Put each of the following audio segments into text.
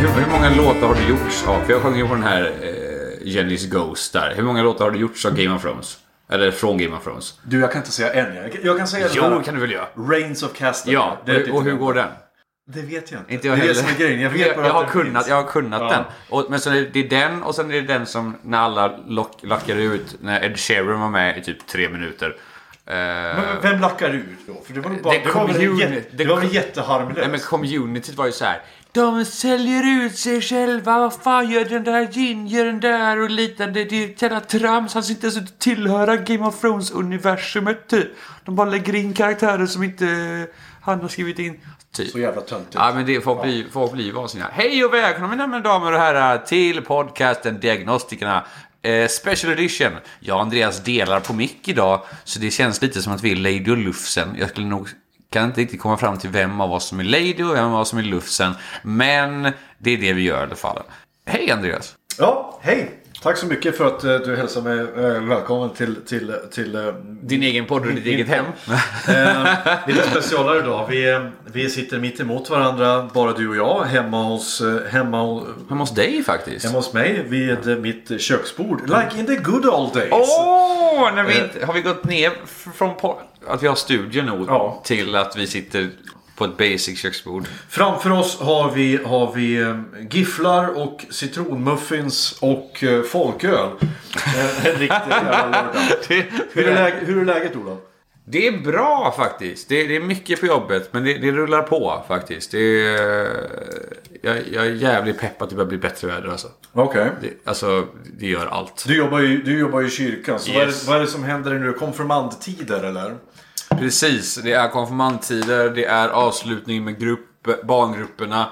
Hur, hur många låtar har du gjort av? För jag sjöng ju på den här eh, Jennys Ghost där. Hur många låtar har du gjort av Game of Thrones? Eller från Game of Thrones? Du, jag kan inte säga en. Jag kan, jag kan säga Jo, den här- kan du väl göra? Rains of Castle. Ja, Det är och, och hur titeln. går den? Det vet jag inte. Inte jag det är heller. det som är grejen. Jag vet bara jag, har att den kunnat, finns. jag har kunnat Ja. den. Och, men så är det, det är den och sen är det den som när alla lock, lackar ut när Ed Sheeran var med i typ tre minuter. Eh, Men Vem lackar ut då? För det var väl bara... Det Det, var, väl community- jätte, det det com- var väl nej men jätteharmlöst? communityt var ju så här. De säljer ut sig själva, vad fan gör den där gin, gör den där och liknande. Det är ett jävla trams, han ser inte ens ut att tillhöra Game of Thrones-universumet typ. De bara lägger in karaktärer som inte eh, han har skrivit in. Typ. Så jävla töntigt. Ja, men det, folk, blir, folk blir vansinniga. Hej och välkomna mina damer och herrar till podcasten Diagnostikerna. Eh, special edition. Jag och Andreas delar på mick idag, så det känns lite som att vi är Lady och Lufsen. Jag skulle nog, kan inte riktigt komma fram till vem av oss som är Lady och vem av oss som är Lufsen. Men det är det vi gör i alla fall. Hej Andreas! Ja, hej! Tack så mycket för att eh, du hälsar mig eh, välkommen till... till, till eh, Din egen podd och ditt eget hem. eh, lite specialare idag. Vi, eh, vi sitter mitt emot varandra, bara du och jag, hemma hos, eh, hemma, Hemma hos dig faktiskt. hemma hos mig vid eh, mitt köksbord. Like in the good old days. Åh! när vi inte, har vi gått ner f- från po- att vi har studion nu Ja. till att vi sitter på ett basic köksbord? Framför oss har vi, har vi eh, gifflar och citronmuffins och eh, folköl. Eh, En riktig jävla lördag. Det, Hur är, läge, hur är läget Olof? det är bra faktiskt. Det, det är mycket på jobbet, men det, det rullar på faktiskt. Det är, jag, jag är jävligt pepp att det börjar bli bättre väder alltså. Okej. Det, alltså, det gör allt. Du jobbar, ju, du jobbar ju i kyrkan, så vad, är Yes. det, vad är det som händer nu? Konfirmandtider eller? Precis, det är konfirmandtider, det är avslutning med grupp, barngrupperna.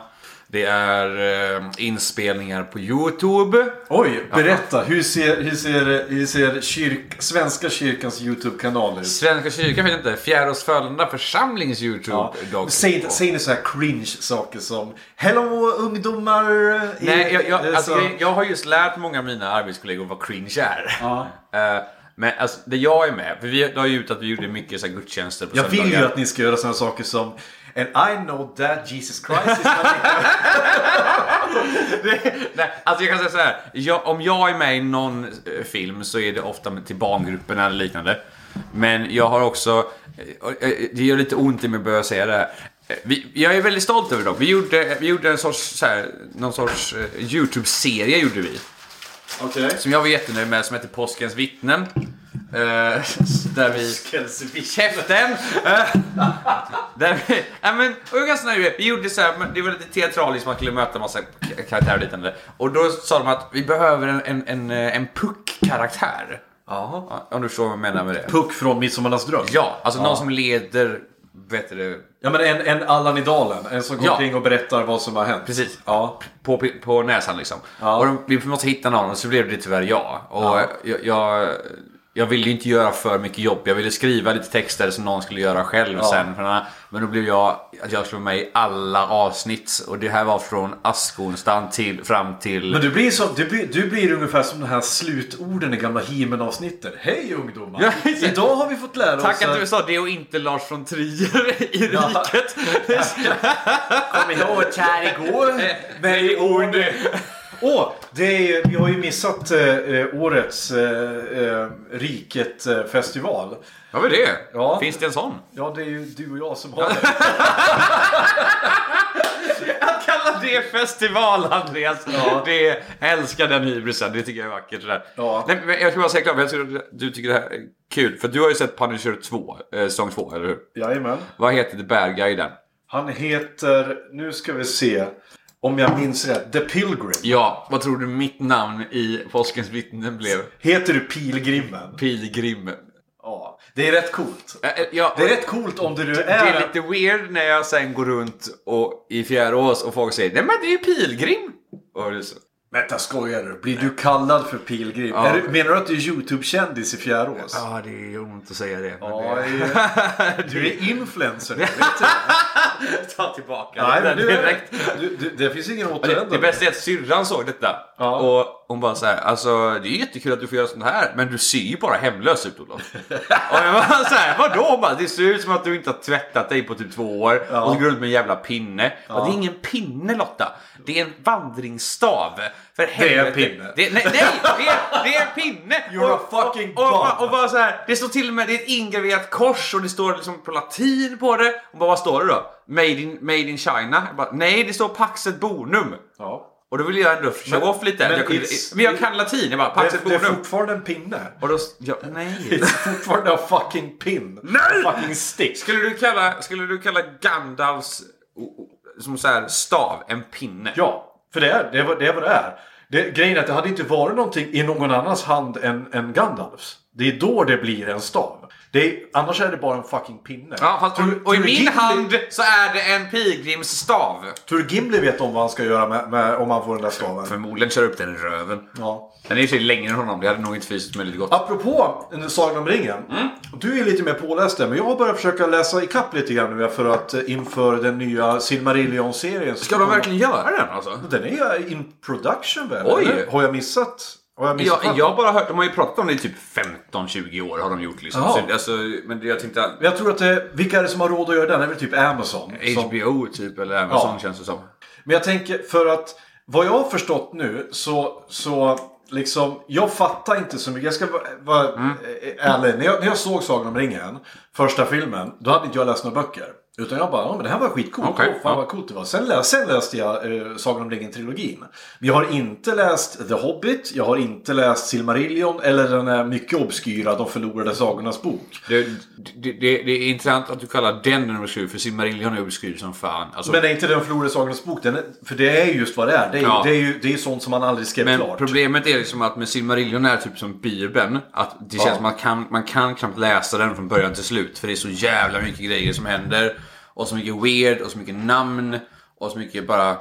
Det är eh, inspelningar på YouTube. Oj, berätta. Hur ser, hur ser, hur ser kyrk, Svenska kyrkans YouTube-kanal ut? Svenska kyrkan vet jag inte. Fjärås Frölunda församlings YouTube Ja. dock. Säg, inte- säg inte så här cringe saker som Hello ungdomar! Nej, jag, Eh, jag, alltså, så- jag, jag har just lärt många av mina arbetskollegor vad cringe är. Ja. Eh, men alltså, det jag är med, för vi la ju ut att vi gjorde mycket så här, gudstjänster på Jag vill ju söndagar. att ni ska göra sådana saker som And I know that Jesus Christ is coming. Nej, alltså jag kan säga så här. Jag, om jag är med i någon eh, film så är det ofta med- till barngrupperna eller liknande. Men jag har också... eh, och, eh, Det gör lite ont i mig att börja säga det här. Eh, Vi, jag är väldigt stolt över dem. Vi gjorde, vi gjorde en sorts, så här, någon sorts eh, YouTube-serie gjorde vi. Okej. Som jag var jättenöjd med, som heter Påskens vittnen. Eh, där vi... Käften! Eh, där vi... Ja, men, och jag var ganska nöjd. Vi gjorde så här, men det var lite teatraliskt, man skulle möta massa k- karaktärer och liknande. Och då sa de att vi behöver en, en, en, eh, en puck-karaktär. Jaha. Ja, Om du förstår vad jag menar med det. Puck från Midsommarnas dröm. Ja, alltså någon som leder... Vet du, det, Ja, men en, en Allan i dalen. En som går Ja. omkring och berättar vad som har hänt. Precis. Ja. på, på näsan liksom. Ja. Och de, vi måste hitta någon och så blev det tyvärr jag. Och jag, jag, jag ville ju inte göra för mycket jobb. Jag ville skriva lite texter som någon skulle göra själv sen. För den här- Men då blev jag att jag skulle vara med i alla avsnitt. Och det här var från askonstan till fram till... Men du blir, så, du, blir, du blir ungefär som de här slutorden i gamla he avsnittet Hej ungdomar! Ja, exakt. Idag har vi fått lära Tack oss att du sa det och inte Lars von Trier i Alltså- Ja. riket. Kom ihåg här igår. Men i ord. Åh, det är ju- vi har ju missat eh, eh, årets eh, eh, Riket-festival. Vad var det? Ja. Finns det en sån? Ja, det är ju du och jag som har det. Kalla det är festival, Andreas. Ja. Det är, jag älskar den hybrisen. Det tycker jag är vackert. Sådär. Ja. Nej, men jag ska bara säga klart, men jag tror att du tycker det här är kul. För du har ju sett Punisher 2, eh, säsong 2, eller hur? Jajamän. Vad heter The Bad Guy i den? Han heter, nu ska vi se, om jag minns rätt, The Pilgrim. Ja, vad tror du mitt namn i Påskens vittnen blev? Heter du Pilgrimmen? Pilgrim. Ja. Det är rätt coolt. Eh, eh, Ja, Det är rätt coolt om du nu Det är... är lite weird när jag sen går runt och, i Fjärås och folk säger Nej men det är ju pilgrim! Och det är så, Vänta, skojar du? Blir du kallad för Pilgrim? Ja. Är du, menar du att du är YouTube-kändis i Fjärås? Ja, det är ont att säga det. Men Ja, det... det- du är influencer. nu, vet du? Ta tillbaka Nej, det men där du, direkt. Du, du, det finns ingen Det, det återvändo. bästa är att syrran såg detta. Ja. Och hon bara så här, alltså det är jättekul att du får göra sånt här, men du ser ju bara hemlös ut Olof. och jag bara så här, vadå? Hon bara, det ser ut som att du inte har tvättat dig på typ två år Ja. och så går du runt med en jävla pinne. Bara, det är ingen pinne Lotta, det är en vandringsstav. För är en helvete. pinne. Det, nej, nej det, är, det är en pinne! You're och, a fucking och, och, bara- god. och bara så här, det står till och med, det är ett ingraverat kors och det står liksom på latin på det. Och bara, vad står det då? Made in, made in China? Jag bara, nej, det står Paxet Bonum. Ja. Och då vill jag ändå show Men- off lite. Men men jag, kunde, it's- men jag kan latin, jag bara Paxet Det, det är Bonum. fortfarande en pinne. Och då, s- ja, Det nej. är fortfarande en fucking pin. Nej! Fucking stick. Skulle du kalla, skulle du kalla Gandalfs o- o- som så här, stav en pinne? Ja, för det är, det är, vad- det är vad det är. Det, grejen är att det hade inte varit någonting i någon annans hand än, än Gandalfs. Det är då det blir en stav. Det är, annars är det bara en fucking pinne. Ja, fast, Tror- och, och i tror du min Gimli- hand så är det en pilgrimsstav. Tror du Gimli vet om vad han ska göra med, med, om han får den där staven? Förmodligen kör upp den i röven. Ja. Den är i och för sig längre än honom, det hade nog inte fysiskt möjligt gått. Apropå Sagan om ringen. Mm. Du är lite mer påläst där, men jag har börjat försöka läsa ikapp lite grann nu för att eh, inför den nya Silmarillion-serien. så Ska de kommer- verkligen göra den alltså? Den är in production väl? Oj! eller? Har jag missat? Har jag missat? Jag, jag har bara hört, de har ju pratat om det i typ 15-20 år har de gjort liksom. Jaha. Så, alltså, men det- jag tänkte Men Jag tror att det, vilka är det som har råd att göra den? Det är väl typ Amazon. Som, HBO typ eller Amazon Ja. känns det som. men jag tänker för att vad jag har förstått nu så, så liksom, jag fattar inte så mycket. Jag ska vara- vara Mm. eh, ärlig. När jag, när jag såg Sagan om ringen, första filmen, då hade inte jag läst några böcker. Utan jag bara, ja men det här var skitcoolt. Okej, Åh, fan ja. vad coolt det var. Sen, lä- sen läste jag eh, Sagan om ringen-trilogin. Men jag har inte läst The Hobbit, jag har inte läst Silmarillion eller den här mycket obskyra De förlorade sagornas bok. Det, det, det, det är intressant att du kallar den nummer 7 för Silmarillion är obskyr som fan. Alltså, Men men det är inte den förlorade sagans bok. Den är, för det är just vad det är. Det är, Ja. det är ju det är sånt som man aldrig skrev klart. problemet är liksom att med Silmarillion är typ som Bibeln. Att det känns som man kan, man kan knappt läsa den från början till slut. För det är så jävla mycket grejer som händer. Och så mycket weird och så mycket namn. Och så mycket bara...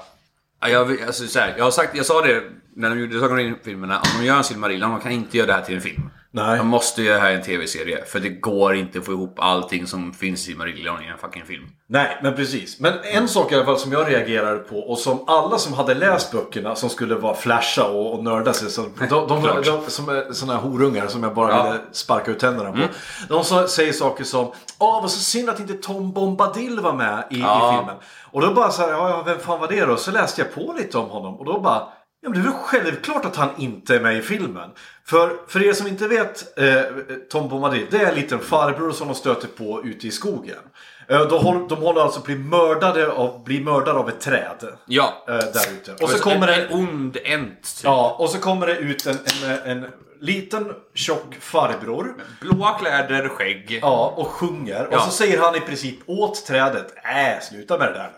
Ja, Jag, vet- alltså, så här, jag, har sagt, jag sa det när de gjorde Sagan om ringen-filmerna. Om de gör en Silmarillion, de kan inte göra det här till en film. Nej. De måste göra det här i en tv-serie. För det går inte att få ihop allting som finns i Silmarillion i en fucking film. Nej, men precis. Men en sak i alla fall som jag reagerade på och som alla som hade läst böckerna som skulle vara flasha och, och nörda sig. Som, de, de, de, Klart. som är såna här horungar som jag bara Ja. Mm. ville sparka ut tänderna på. De som säger saker som Åh, vad så synd att inte Tom Bombadil var med i, i Ja. filmen. Och då bara så här, ja, ja, vem fan var det då? Så läste jag på lite om honom och då bara Ja, men det är väl självklart att han inte är med i filmen. För, för er som inte vet, eh, Tom Bombadil, det är en liten farbror som de stöter på ute i skogen. Eh, de, håller, de håller alltså på att bli mördade av, bli mördade av ett träd. Ja. Eh, där ute. Och så kommer det... en ond ent. Typ. Ja, och så kommer det ut en, en, en liten tjock farbror. Blåa kläder, skägg. Ja, och sjunger. Ja. Och så säger han i princip åt trädet, äh, sluta med det där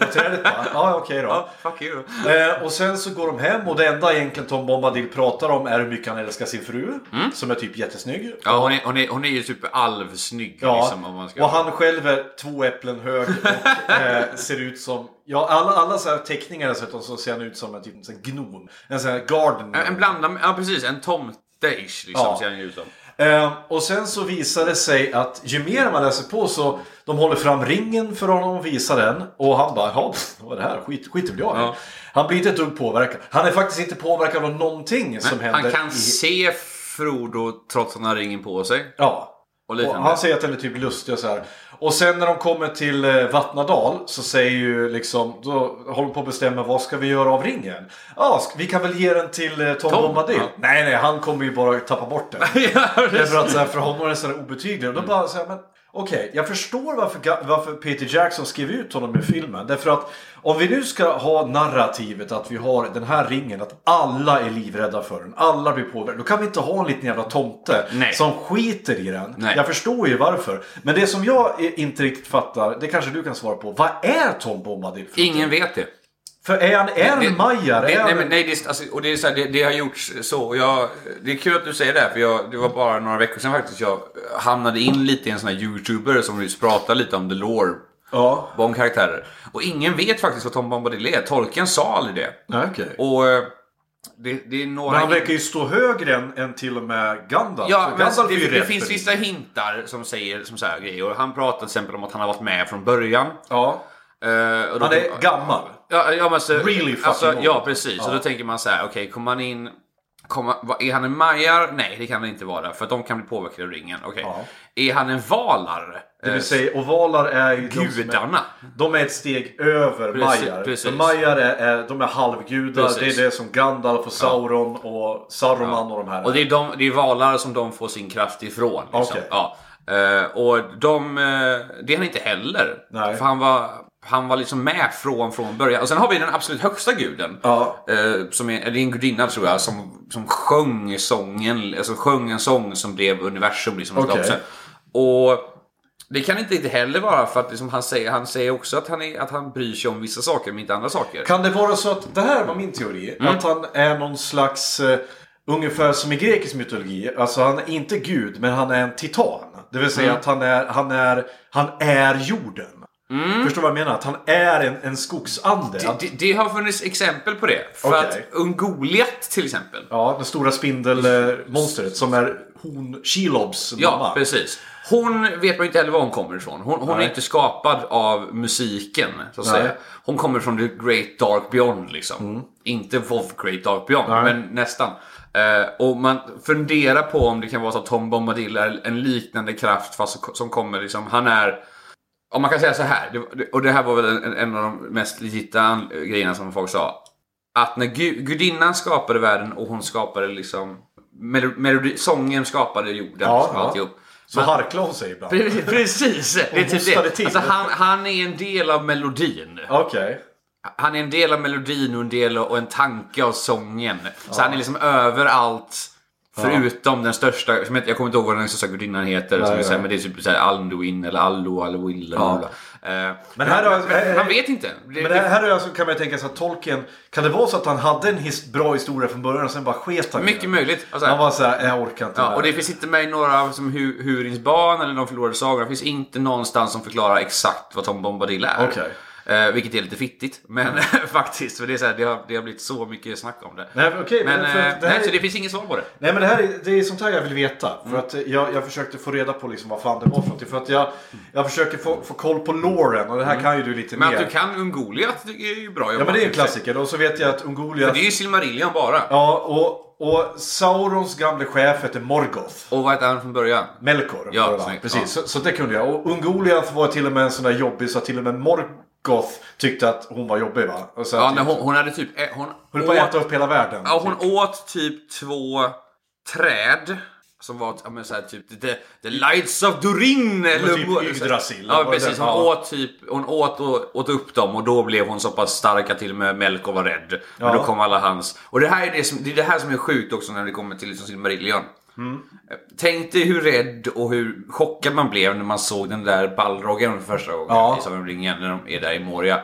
nu. Och trädet bara, ja okej då. Ja, fuck you. Eh, och sen så går de hem och det enda egentligen Tom Bombadil pratar om är hur mycket han älskar sin fru. Mm. Som är typ jättesnygg. Ja, hon, är, hon, är, hon är ju typ alvsnygg. Ja, Liksom, om man ska... och han själv är två äpplen hög och eh, ser ut som... Ja, alla, alla så här teckningar dessutom så ser han ut som en typ en sån här gnom. En sån här garden. En- En blandad, ja precis, en tomte-ish liksom, Ja. ser han ju ut som. Eh, och sen så visar det sig att ju mer man läser på så de håller fram ringen för honom och visar den. Och han bara, ja pff, vad är det här? Skit, skit blir jag i." Ja. Han blir inte ett dugg påverkad. Han är faktiskt inte påverkad av någonting som händer. Han kan i... se Frodo trots att han har ringen på sig. Ja. Och Och liknande. han säger att den är typ lustig och så här. Och sen när de kommer till eh, Vattnadal så säger ju liksom, då håller de på att bestämma vad ska vi göra av ringen? Ja, sk- vi kan väl ge den till eh, Tom, Tom, Bombadil. ja. Nej, nej, han kommer ju bara tappa bort den. Ja, precis. Mm. Därför att så här, för honom är den så här obetydlig. Och då bara så här, men okej, Okej, jag förstår varför, Ga- varför Peter Jackson skrev ut honom i filmen. Därför att om vi nu ska ha narrativet att vi har den här ringen, att alla är livrädda för den, alla blir påverkade. Då kan vi inte ha en liten jävla tomte Nej. som skiter i den. Nej. Jag förstår ju varför. Men det som jag i- inte riktigt fattar, det kanske du kan svara på. Vad är Tom Bombadil? för Ingen vet det. För är han, är han majar? Det, Är nej, han- men, nej, det, är- alltså, och det, är så här, det, det har gjorts så. Och jag, det är kul att du säger det, här, för jag, det var bara några veckor sedan faktiskt jag hamnade in lite i en sån här youtuber som just pratar lite om the lore. Ja. Om karaktärer. Och ingen vet faktiskt vad Tom Bombadil är. Tolkien sa aldrig det. Nej, okej. Och eh, det, det är några... Men han verkar ju stå högre än, än till och med Gandalf. Ja, Så men alltså, Gandalf är det, ju det rädd finns för vissa hintar som säger som så här grejer. Och han pratar till exempel om att han har varit med från början. Ja. Eh, och då- Han är gammal. Ja, ja, men så, Really fucking alltså, old. Ja, precis. Och då tänker man så här, okej, kommer han in... Kommer, vad- är han en majar? Nej, det kan han inte vara. För att de kan bli påverkade av ringen. Okej. Ja. Är han en valar? Det vill säga, ovalar är ju de som är, Gudarna. de är ett steg över Precis, majar. precis. För majar är, är, de är halvgudar. Precis. Det är det som Gandalf och Sauron och Saruman och de här Och det är, de, det är valar som de får sin kraft ifrån. Liksom. Okej. Ja. Eh, och de, eh, det är han inte heller. Nej. För han var, han var liksom med från, från början. Och sen har vi den absolut högsta guden. Ja. Eh, som är, eller en gudinna tror jag, som, som sjöng sången, alltså sjöng en sång som blev universum. Liksom, Okej. skapelsen. Och det kan inte inte heller vara för att liksom, han, säger, han säger också att han, är, att han bryr sig om vissa saker men inte andra saker. Kan det vara så att, det här var min teori, Mm. att han är någon slags, eh, ungefär som i grekisk mytologi, alltså han är inte gud, men han är en titan. Det vill säga Mm. att han är, han är, han är jorden. Förstår du vad jag menar? Att han är en, en skogsande. Mm. Det, det, det har funnits exempel på det. För Okej. att Ungoliat till exempel. Ja, det stora spindelmonstret som är hon Shelobs Ja, mamma. precis. Hon vet man ju inte heller var hon kommer ifrån. Hon, hon är Nej. inte skapad av musiken, så att Nej. Mm. säga. Hon kommer från the great dark beyond, liksom. Inte Vov great dark beyond, Nej. men nästan. Eh, och man funderar på om det kan vara så att Tom Bombadil är en liknande kraft fast som kommer liksom, han är... Om man kan säga så här, det- det, och det här var väl en, en av de mest legitta an- grejerna som folk sa. Att när gu, gudinnan skapade världen och hon skapade liksom... Mel, melodi, sången skapade jorden Ja, och ja. alltihop. Så harklade hon sig ibland. Okej. Pre- Precis! Det är typ hostade det. till. Alltså, han, han är en del av melodin. Han är en del av melodin och en del av, och en tanke av sången. Så han är liksom överallt. Förutom den största, som heter- jag kommer inte ihåg vad den största gudinnan heter, som är nej. så här, men det är typ såhär Alduin eller Allo, Alwill eller Eh, Ja. ja. Men här har- Han vet inte. Det, Eh, Men det här är alltså, kan man ju tänka sig att Tolkien, kan det vara så att han hade en his bra historia från början och sen bara sket han i mycket den? möjligt. Alltså, Han var såhär, jag orkar inte ja, med och det finns inte med i några av som Hu- Hurins barn eller de förlorade sagorna. Det finns inte någonstans som förklarar exakt vad Tom Bombadil är. Okej. Mm. Eh, vilket är lite fittigt, men faktiskt. För det, är så här, det, har, det har blivit så mycket snack om det. Nej, men okej, men, men för eh, att det här nej, är- så det Mm. finns inget svar på det. Nej men det här är, det är sånt här jag vill veta. För att eh, jag, jag försökte få reda på liksom vad fan det var för någonting. För att jag, jag försöker få, få koll på Lauren och det här kan ju du lite Mm. Men mer. att du kan Ungoliat det är ju bra Ja jobbat. men det är ju en klassiker. Och så vet jag att Ungolia... Det är ju Silmarillion bara. Ja, och, och Saurons gamle chef heter Morgoth. Och vad hette han från början? Melkor. Ja, var det, va? snyggt. precis. Ja. Så, så det kunde jag. Och Ungoliath var till och med en sån där jobbig så att till och med Morgoth tyckte att hon var jobbig va? Och så Ja, att- nej, hon, hon hade typ... eh, Hon, Höll på att äta upp hela världen. Ja, hon åt typ två träd. Som var ja, men så här, typ the, the lights of Durin. Eller typ vad- Yggdrasil, Ja, var det precis. den? Hon, Ja. åt, typ, hon åt, och, åt upp dem och då blev hon så pass stark att till och med Melkor var rädd. Men Ja. då kom alla hans... Och det här är det, som, det, är det här som är sjukt också när det kommer till liksom Silmarillion. Tänk dig hur rädd och hur chockad man blev när man såg den där Balrogen för första gången Ja. i Sagan om ringen när de är där i Moria.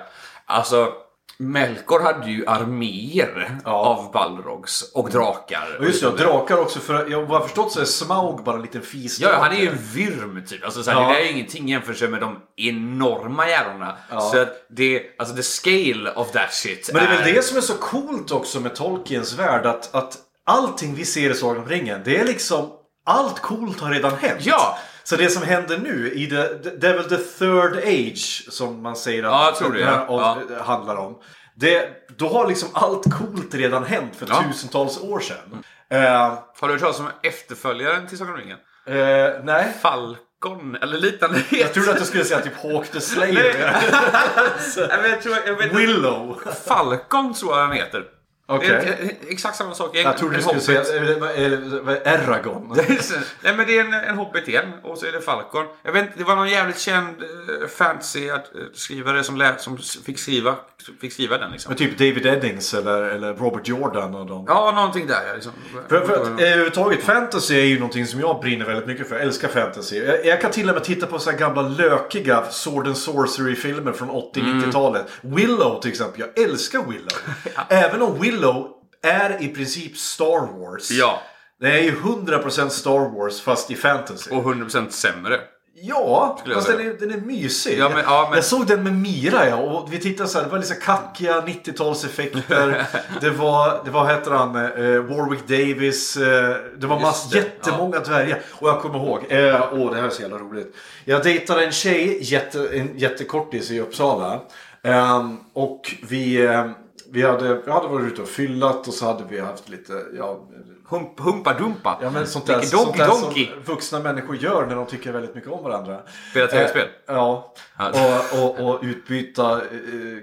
Alltså, Melkor hade ju arméer av Balrogs och drakar. Och just det, och drakar också. För jag har förstått så är Smaug bara en liten fis. Ja, han är ju en virm typ. Alltså, såhär, Ja. Det där är ingenting jämfört med de enorma jävlarna. Ja. Så att det, alltså the scale of that shit Men det är väl det som är så coolt också med Tolkiens värld. Att, att allting vi ser i Sagan om ringen, det är liksom... Allt coolt har redan hänt. Ja. Så det som händer nu, i the, the, det är väl the third age som man säger att Ja, jag tror det, den här ja. av, handlar om. Det, då har liksom allt coolt redan hänt för Ja. tusentals år sedan. Eh, Har du hört talas om efterföljaren till Sagan om ringen? eh, nej, Falcon, eller liknande. jag trodde att du skulle säga typ Hawk the Slayer. Nej, men jag tror, jag vet, Willow. Falcon tror jag han heter. Okej. Det är Eh, exakt samma sak i Jag trodde du en skulle hobbit. säga eh, vad- eh, vad- Eragon. Nej men det är en, en hobbit igen och så är det Falcon. Jag vet inte, det var någon jävligt känd eh, fantasy-skrivare som, lä- som s- fick, skriva, fick skriva den liksom. Men typ David Eddings eller, eller Robert Jordan och dem. Ja, någonting där ja. Liksom. För, för att, eh, överhuvudtaget, fantasy är ju någonting som jag brinner väldigt mycket för. Jag älskar fantasy. Jag, jag kan till och med titta på så här gamla lökiga Sword and Sorcery-filmer från 80-90-talet. Willow till exempel. Jag älskar Willow. Även om Willow är i princip Star Wars. Ja. Det är ju 100% Star Wars fast i fantasy. Och 100% sämre. Ja, jag fast den säga. är, den är mysig. Ja, men- ja, men- Jag såg den med Mira ja, och vi tittade så här, det var lite så kackiga 90-talseffekter. det var, det var vad heter han, eh, Warwick Davis. Eh, det var mass, det, jättemånga dvärgar. Och jag kommer ihåg, eh, åh det här är så jävla roligt. Jag dejtade en tjej, jätte, en jättekortis i Uppsala. Ehm, och vi, eh, vi hade, vi hade varit ute och fyllat och så hade vi haft lite, ja, Hump, humpa dumpa. Ja men sånt där, Vilken donkey sånt där donkey. som vuxna människor gör när de tycker väldigt mycket om varandra. Spela tv-spel? Eh, ja. Ja. Och, och, och utbyta eh,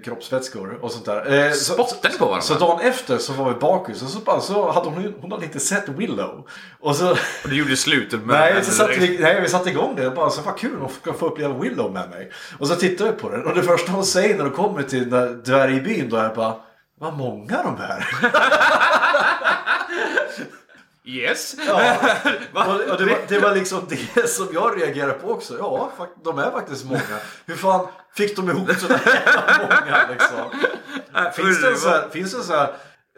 kroppsvätskor och sånt där. Eh, så- Spottade på varandra? Så dagen efter så var vi bakis och så, bara, så hade hon, hon hade inte sett Willow. Och så... Och det gjorde slut med Nej, så satte vi, nej, vi satte igång det och bara så vad kul hon ska få uppleva Willow med mig. Och så tittade vi på den och det första hon säger när hon kommer till den där dvärgbyn då är jag bara vad många de är. Yes! Va? Ja, och, och det, var, det var liksom det som jag reagerade på också. Ja, fakt- de är faktiskt många. Hur fan fick de ihop sådär jävla många liksom? Finns det en sån här, finns det en sån här,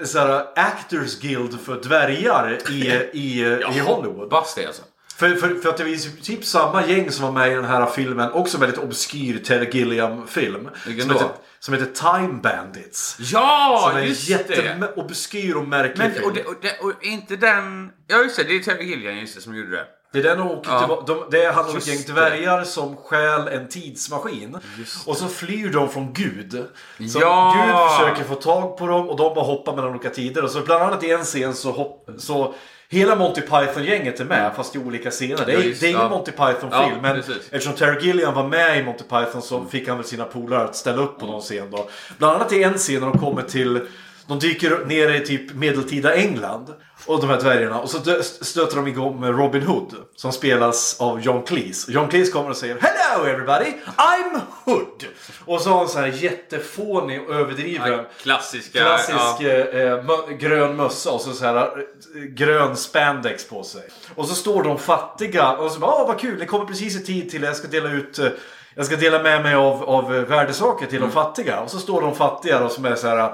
så här Actors Guild för dvärgar i, i, i Hollywood? Hoppas det alltså. För, för, för att det var i princip samma gäng som var med i den här filmen, också väldigt obskyr Ted Gilliam-film. Vilken Som då? heter, som heter Time Bandits. Ja, Som är en just det! jätteobskyr och märklig Men, film. och, det, och, det, och inte den... Ja, just det. Det är Terry Gillian just det, som gjorde det. Det är den de åker tillbaka. De, det handlar om ett Just gäng det. dvärgar som stjäl en tidsmaskin. Och så flyr de från Gud. Så Ja! Gud försöker få tag på dem och de bara hoppar mellan olika tider. Och så bland annat i en scen så, hopp, så Hela Monty Python-gänget är med fast i olika scener. Det är, Ja, just- det är ingen ja. Monty Python-film Ja, men precis. eftersom Terry Gilliam var med i Monty Python så fick han väl sina polare att ställa upp på någon scen då. Bland annat i en scen när de kommer till de dyker ner i typ medeltida England. Och de här dvärgarna. Och så dö- stöter de igång med Robin Hood. Som spelas av John Cleese. Och John Cleese kommer och säger Hello everybody! I'm Hood! Och så har han så här jättefånig och överdriven. Klassiska... Klassisk ja. eh, eh, mö- grön mössa och så, så här eh, grön spandex på sig. Och så står de fattiga och så bara ah, vad kul, ni kommer precis i tid till jag ska dela ut eh, jag ska dela med mig av, av eh, värdesaker till Mm. de fattiga. Och så står de fattiga då som är så här eh,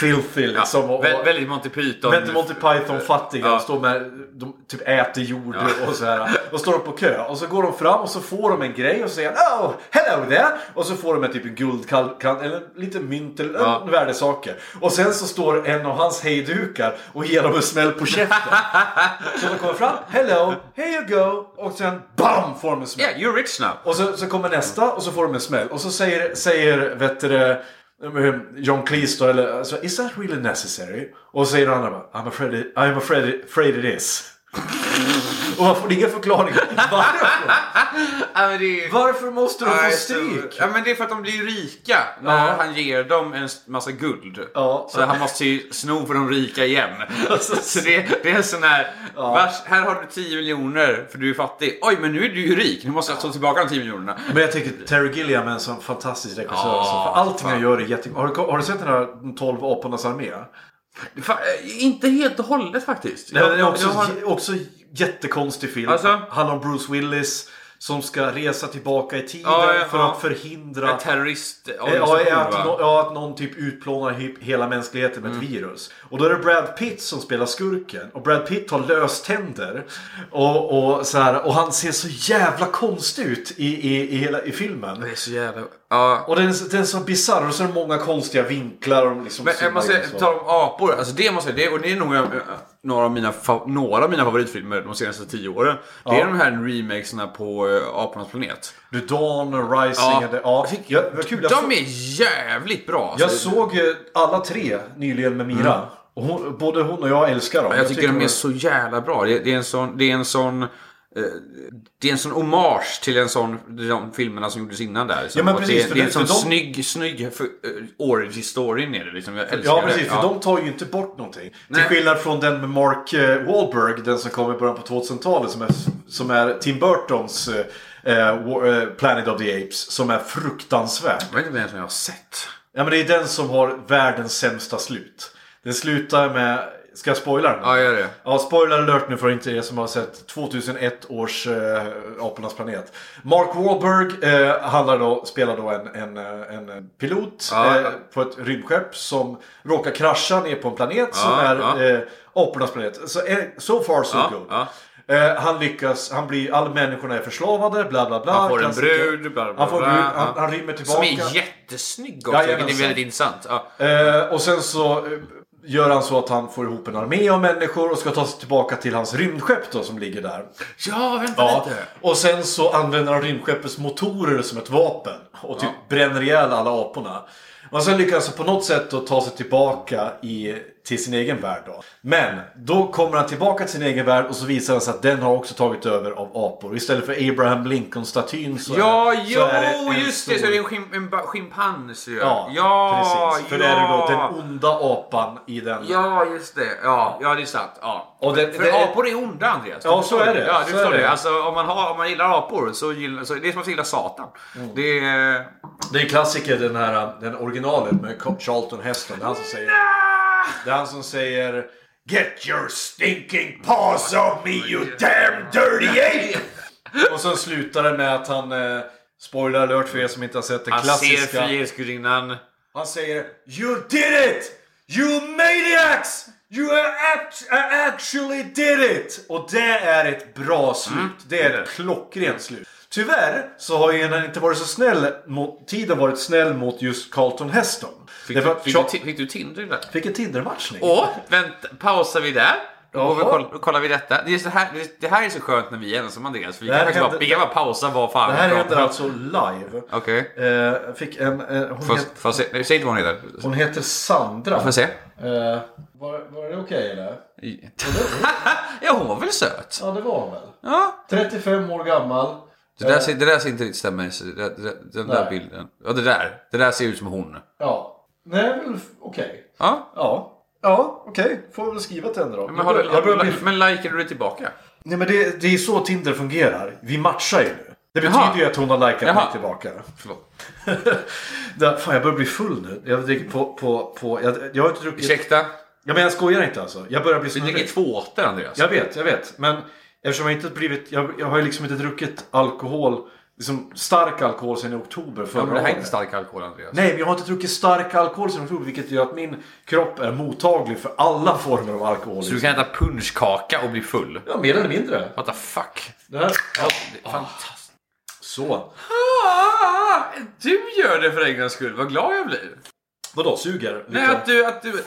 filthy Ja, liksom. och, vä- väldigt Monty Python. Vänta Monty Python-fattiga. Ja. De står med, de typ äter jord och så här. Och står de på kö. Och så går de fram och så får de en grej och så säger han, oh, hello there. Och så får de en typ en guldkant eller lite mynt eller Ja. en värdesaker. Och sen så står en av hans hejdukar och ger dem en smäll på käften. så de kommer fram, hello, here you go. Och sen BAM får de en smäll. Yeah, you're rich now. Och så, så kommer nästa och så får de en smäll. Och så säger, säger vet du, det, eh, John Cleese då, eller alltså, is that really necessary? Och så säger den andra bara, I'm afraid it, I'm afraid it, afraid it is. och man får ingen förklaring. Varför? Ja, men det är ju- Varför måste de få Nej, stryk? så- Ja, men det är för att de blir rika när han ger dem en massa guld. Ja. Så han måste ju sno från de rika igen. så det, det är en sån här... Vars, här har du 10 miljoner för du är fattig. Oj, men nu är du ju rik. Nu måste jag ta tillbaka de 10 miljonerna. Men jag tänker Terry Gilliam är en sån fantastisk regissör. Ja, så för allting fan. han gör är jättekul. Har, du- har du sett den här 12 apornas armé? Fa- eh, inte helt och hållet faktiskt. Nej, men det är också, jag har- j- också jättekonstig film. Alltså? Handlar om Bruce Willis som ska resa tillbaka i tiden Ja, ja, för ja. att förhindra en terrorist Ja, ja, att, nå- ja, att någon typ utplånar he- hela mänskligheten med ett Mm. virus. Och då är det Brad Pitt som spelar skurken. Och Brad Pitt har löständer. Och, och, så här, och han ser så jävla konstig ut i, i, i, hela, i filmen. Det är så jävla... Ja. Och den, är- den är så bisarr och så är det många konstiga vinklar. Och de liksom Men eh, zoomar jag måste in och så. säga, tala om apor. Alltså det måste jag, det, och det är nog eh, några av mina, fa- några av mina favoritfilmer de senaste tio åren. Det är de här remakesarna på eh, Apornas planet. The Dawn, Rising. Ja. Ja. Ja, jag, vad kul. Jag, De så, är jävligt bra. jag alltså. såg eh, alla tre nyligen med Mira. Och hon, både hon och jag älskar dem. Mm. jag tycker de de är så jävla bra. Det, det är en sån... Det är en sån eh, det är en sån hommage till en sån, de filmerna som gjordes innan där. liksom. Ja, men Och precis, det, för det är en det- sån för de- snygg, snygg för, eh, origin storyn är det liksom. Jag älskar Ja precis, det. för de tar ju inte bort någonting. Nej. Till skillnad från den med Mark eh, Wahlberg, den som kom i början på 2000-talet som är, som är Tim Burtons eh, eh, War- eh, Planet of the Apes, som är fruktansvärd. Jag vet inte vem som jag har sett. Ja men det är den som har världens sämsta slut. Den slutar med... Ska jag spoila den? Ja, gör det. Ja, spoiler alert nu för inte er som har sett 2001 års eh, Apornas planet. Mark Wahlberg eh, handlar då, spelar då en, en, eh, en pilot Ja, ja. eh, på ett rymdskepp som råkar krascha ner på en planet som Ja, är ja. eh, Apornas planet. Så eh, so far so Ja, good. ja. Eh, han lyckas, han blir, alla människorna är förslavade, bla bla bla. Han får en Klassiker. brud, bla, bla, Han får en bla, brud, ja. han, han rymmer Som tillbaka. är jättesnygg också, vilket är Jajamensan. väldigt intressant. Ja. Eh, och sen så eh, gör han så att han får ihop en armé av människor och ska ta sig tillbaka till hans rymdskepp då som ligger där. Ja, vänta lite. Och sen så använder han rymdskeppets motorer som ett vapen och typ bränner ihjäl alla aporna. Men sen lyckas han på något sätt då ta sig tillbaka i, till sin egen värld då. Men då kommer han tillbaka till sin egen värld och så visar det sig att den har också tagit över av apor. Istället för Abraham Lincoln-statyn så Ja, är, jo, så är det en just det. Så stor- är det en, schim- en ba- schimpans ju. Ja, ja precis. För ja. det är det då den onda apan i den Ja, just det. Ja, ja det är sant. Ja. Och det- För det- apor är onda, Andreas. Du Ja, så förstår är det. Ja, du Så förstår är det. det. Alltså, om, man har, om man gillar apor så gillar... Så det är som att gilla Satan. Mm. Det är... Det är klassiker den här, den originalet med Charlton Heston. Det är han som säger... Det är han som säger... Get your stinking paws off me you damn dirty ape! Och sen slutar det med att han... Eh, spoiler alert för er som inte har sett den Han klassiska. ser Frihetsgudinnan. Han säger You did it! You maniacs! You act- actually did it! Och det är ett bra slut. Mm. Det är ett klockrent slut. Tyvärr så har ju den inte varit så snäll mot, tiden varit snäll mot just Carlton Heston. Fick, Därför du, att fick, du, Charl- ti- fick du Tinder där? fick en Tinder-matchning. Åh, vänta, pausar vi där? Då går vi och Jaha. koll- kollar vi detta. Det, är så här, det- det här är så skönt när vi är ensamma Andreas. För vi Det här kan faktiskt bara, händer- vi kan bara pausa vad fan Det här vi pratar händer om. alltså live. Okej. Eh, fick en, eh, hon, Får- het, får jag se- nej, Säg inte vad hon heter. Får hon heter Sandra. jag se? Eh, var, var det okej eller? ja, hon var väl söt? Ja det var hon väl. Ja. 35 år gammal. Det där, ser, det där ser inte riktigt stämmer. Så det där- det där- Den där Nej. bilden. Ja, det där. Det där ser ut som hon. Ja. Nej väl okej. Ja. Ja. Ja, okej. Får väl skriva till henne då. Men, har du, jag börjar bli... men likar du det tillbaka? Nej men det, det är så Tinder fungerar. Vi matchar ju nu. Det betyder Jaha. ju att hon har likat Jaha. mig tillbaka. Förlåt. Där, fan jag börjar bli full nu. Jag, dricker på, på, på, jag, jag har inte druckit... Ursäkta. Ja, men jag skojar inte alltså. Jag börjar bli Vi dricker snurrig. två åttor Andreas. Jag vet, jag vet. Men eftersom jag inte blivit... Jag, jag har ju liksom inte druckit alkohol. Liksom stark alkohol sedan i oktober förra Ja, men det här är året. inte stark alkohol Andreas. Nej, men jag har inte druckit stark alkohol sedan i oktober. Vilket gör att min kropp är mottaglig för alla former av alkohol. Så du kan äta punschkaka och bli full? Ja, mer eller mindre. What the fuck? Det här... Ja, Ah. det är fantastiskt. Så. Ah, du gör det för en gångs skull. Vad glad jag blir. Vadå, suger? Lite. Nej, att du... Att du...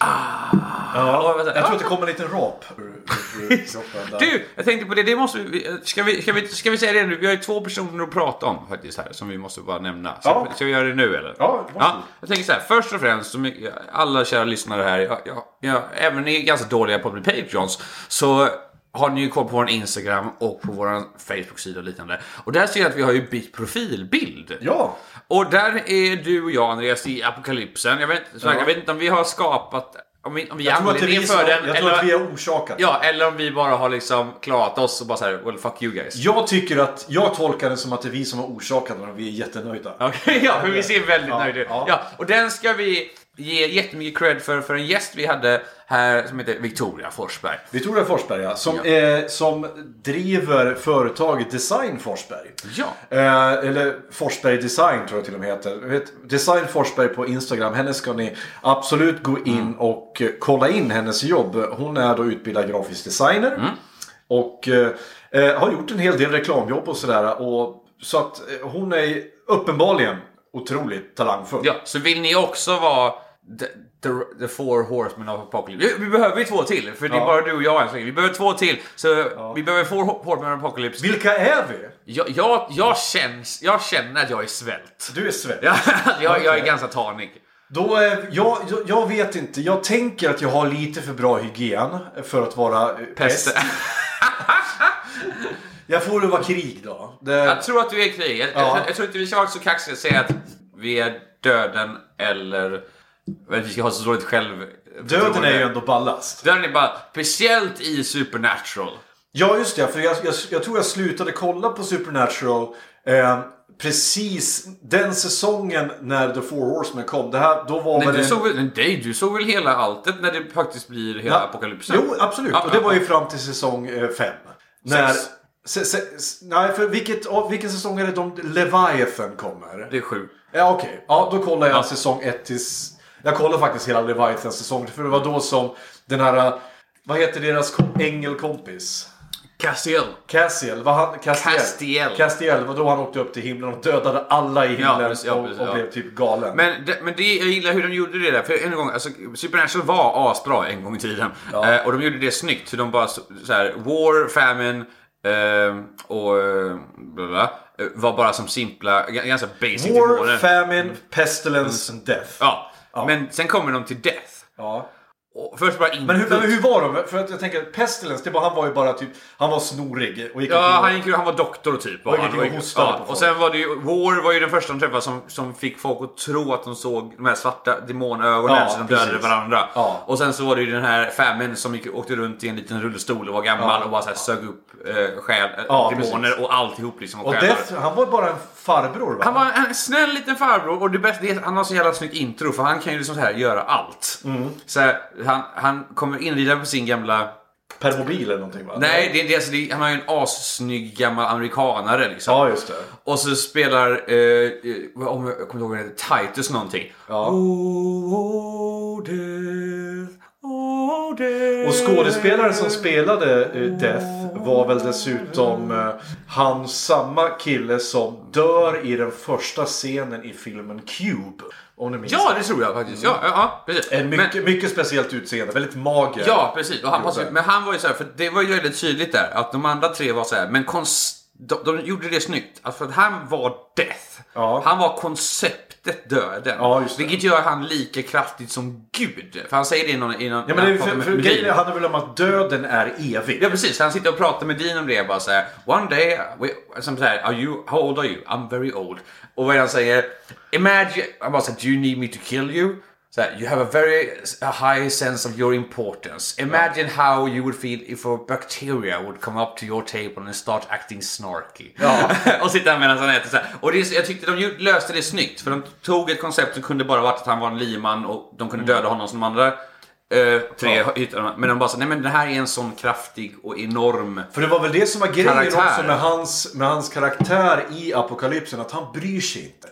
ja, vänta. jag tror att det kommer en liten rap ur, ur, ur kroppen. Där. Du, jag tänkte på det. det måste vi, ska, vi, ska, vi, ska vi säga det nu? Vi har ju två personer att prata om faktiskt här som vi måste bara nämna. Ska, Ja. ska vi göra det nu eller? Ja, varsågod. Jag tänker så här. Först och främst, så mycket- alla kära lyssnare här, jag, jag, jag, även ni är ganska dåliga på att bli Patreons, så har ni ju koll på vår Instagram och på vår Facebook-sida och liknande. Och där ser jag att vi har ju bytt profilbild. Ja, Och där är du och jag Andreas i apokalypsen. Jag vet, så här, Ja. jag vet inte om vi har skapat, om vi, om vi är jag tror, att det är anledningen vi som, för den. jag tror att vi har orsakat. Ja, eller om vi bara har liksom klarat oss och bara såhär, well fuck you guys. Jag tycker att, jag tolkar det som att det är vi som har orsakat den och vi är jättenöjda. Okej, ja, men vi ser väldigt Ja, nöjda ut. ja. Ja, och den ska vi ge jättemycket cred för, för en gäst vi hade här som heter Victoria Forsberg. Victoria Forsberg, ja, som, Eh, som driver företaget Design Forsberg. Ja. Eh, eller Forsberg Design tror jag till och med heter. Jag Vet, Design Forsberg på Instagram. Henne ska ni absolut gå in Mm. och eh, kolla in hennes jobb. Hon är då utbildad grafisk designer. Mm. Och eh, eh, har gjort en hel del reklamjobb och sådär. Och, så att eh, hon är uppenbarligen otroligt talangfull. Ja, så vill ni också vara the, the, the four horsemen of apocalypse. Vi, vi behöver ju två till, för det är Ja. bara du och jag än så länge. Vi behöver två till, så vi behöver four ho- horsemen of apocalypse. Vilka är vi? Jag, jag, jag, känns, jag känner att jag är svält. Du är svensk. Jag, jag, jag är Okej. ganska tanig. Då, eh, jag, jag, jag vet inte. Jag tänker att jag har lite för bra hygien för att vara eh, pest. Pest. Jag får väl vara krig då. Det, Jag tror att du är i krig. Jag, jag, Ja. jag tror inte vi ska vara så kaxiga och säga att vi är döden eller... eller vi ska ha så dåligt själv... döden är ju ändå ballast. Döden är bara... Speciellt i Supernatural. Ja, just det. För jag, jag, jag tror jag slutade kolla på Supernatural eh, precis den säsongen när The Four Horsemen kom. Det här, då var Nej, väl du en- såg väl, nej, du såg väl hela alltet när det faktiskt blir hela Ja. apokalypsen? Jo, absolut. Ja, och det ja, var ja. ju fram till säsong 5. När... Sex. Se, se, s- nej, för vilket, av- vilken säsong är det de Leviathan kommer? Det är sju. Ja, okej. Ja, då kollar jag Ja. säsong 1 till... s- Jag kollar faktiskt hela Leviathan säsongen för det var då som den här... äh, Vad heter deras kom- ängelkompis? Castiel. Cassiel, var han... Castiel. Castiel. Castiel, var då han åkte upp till himlen och dödade alla i himlen precis, ja, och, precis, och ja. blev typ galen. Men, det, men det, jag gillar hur de gjorde det där. För en gång, alltså, Supernatural var asbra en gång i tiden. Eh, och de gjorde det snyggt. Hur de bara så, så här, war, famine eh, och eh, bla bla, eh, var bara som simpla, g- ganska basic War, demoner. famine, pestilence and death. Mm. ja. Men sen kommer de till death. Ja. Och först bara in Men hur, men hur var de? För att jag tänker att Pestilence, det var, han var ju bara typ, han var snorig och gick omkring Ja, och- han, gick, ju- han var doktor typ. Och gick han, och hostade på folk. och sen var det ju, War var ju den första de träffade som, som fick folk att tro att de såg de här svarta demonögonen Ja, så de dödade precis. varandra. Ja. Och sen så var det ju den här Famine som gick, åkte runt i en liten rullstol och var gammal och bara så här, sög upp eh, själ, eh, Ja, demoner precis. och alltihop liksom. Och själar. Death, han var bara en farbror va? Han var en snäll liten farbror och det bästa, det är, att han har så jävla snyggt intro för han kan ju liksom så här göra allt. Mm. Så här, han, han kommer inrida på sin gamla Per mobil eller någonting va? Nej, det, det, alltså, det, han var ju en assnygg gammal amerikanare liksom. Ja, just det. Och så spelar, eh, eh, om jag kommer inte ihåg vad den heter, Titus någonting. Ja. Oh, oh, death, oh, death. Och skådespelaren som spelade eh, Death var väl dessutom eh, han samma kille som dör i den första scenen i filmen Cube. Om ni minns Ja, det tror jag faktiskt. Ja, ja, ja precis. En mycket, mycket speciellt utseende, väldigt mager. Ja, precis. Och han Gjorde. passade, men han var ju så här, för det var ju väldigt tydligt där att de andra tre var så här, men konst, de, de gjorde det snyggt. Alltså, för att han var death. Ja. Han var konceptet döden. Ja, just det. vilket gör han lika kraftigt som Gud. För han säger det i någon... I någon Ja, men det, när han för, pratar för, med grejen Dean. handlar väl om att döden är evig. Ja precis, han sitter och pratar med Dean om det bara så här. One day, we, som så här, are you, how old are you? I'm very old. Och vad är det han säger? Imagine, han bara så här, do you need me to kill you? Så här, you have a very a high sense of your importance. Imagine how you would feel if a bacteria would come up to your table and start acting snarky. Ja. och sitter han medan han äter så här. Och det, är- jag tyckte de ju- löste det snyggt för de tog ett koncept som kunde bara varit att han var en liman och de kunde döda honom som de andra. Eh, tre Ja. ytorna. Men de bara sa, nej men det här är en sån kraftig och enorm... För det var väl det som var grejen Karaktär. också med hans, med hans karaktär i Apokalypsen, att han bryr sig inte.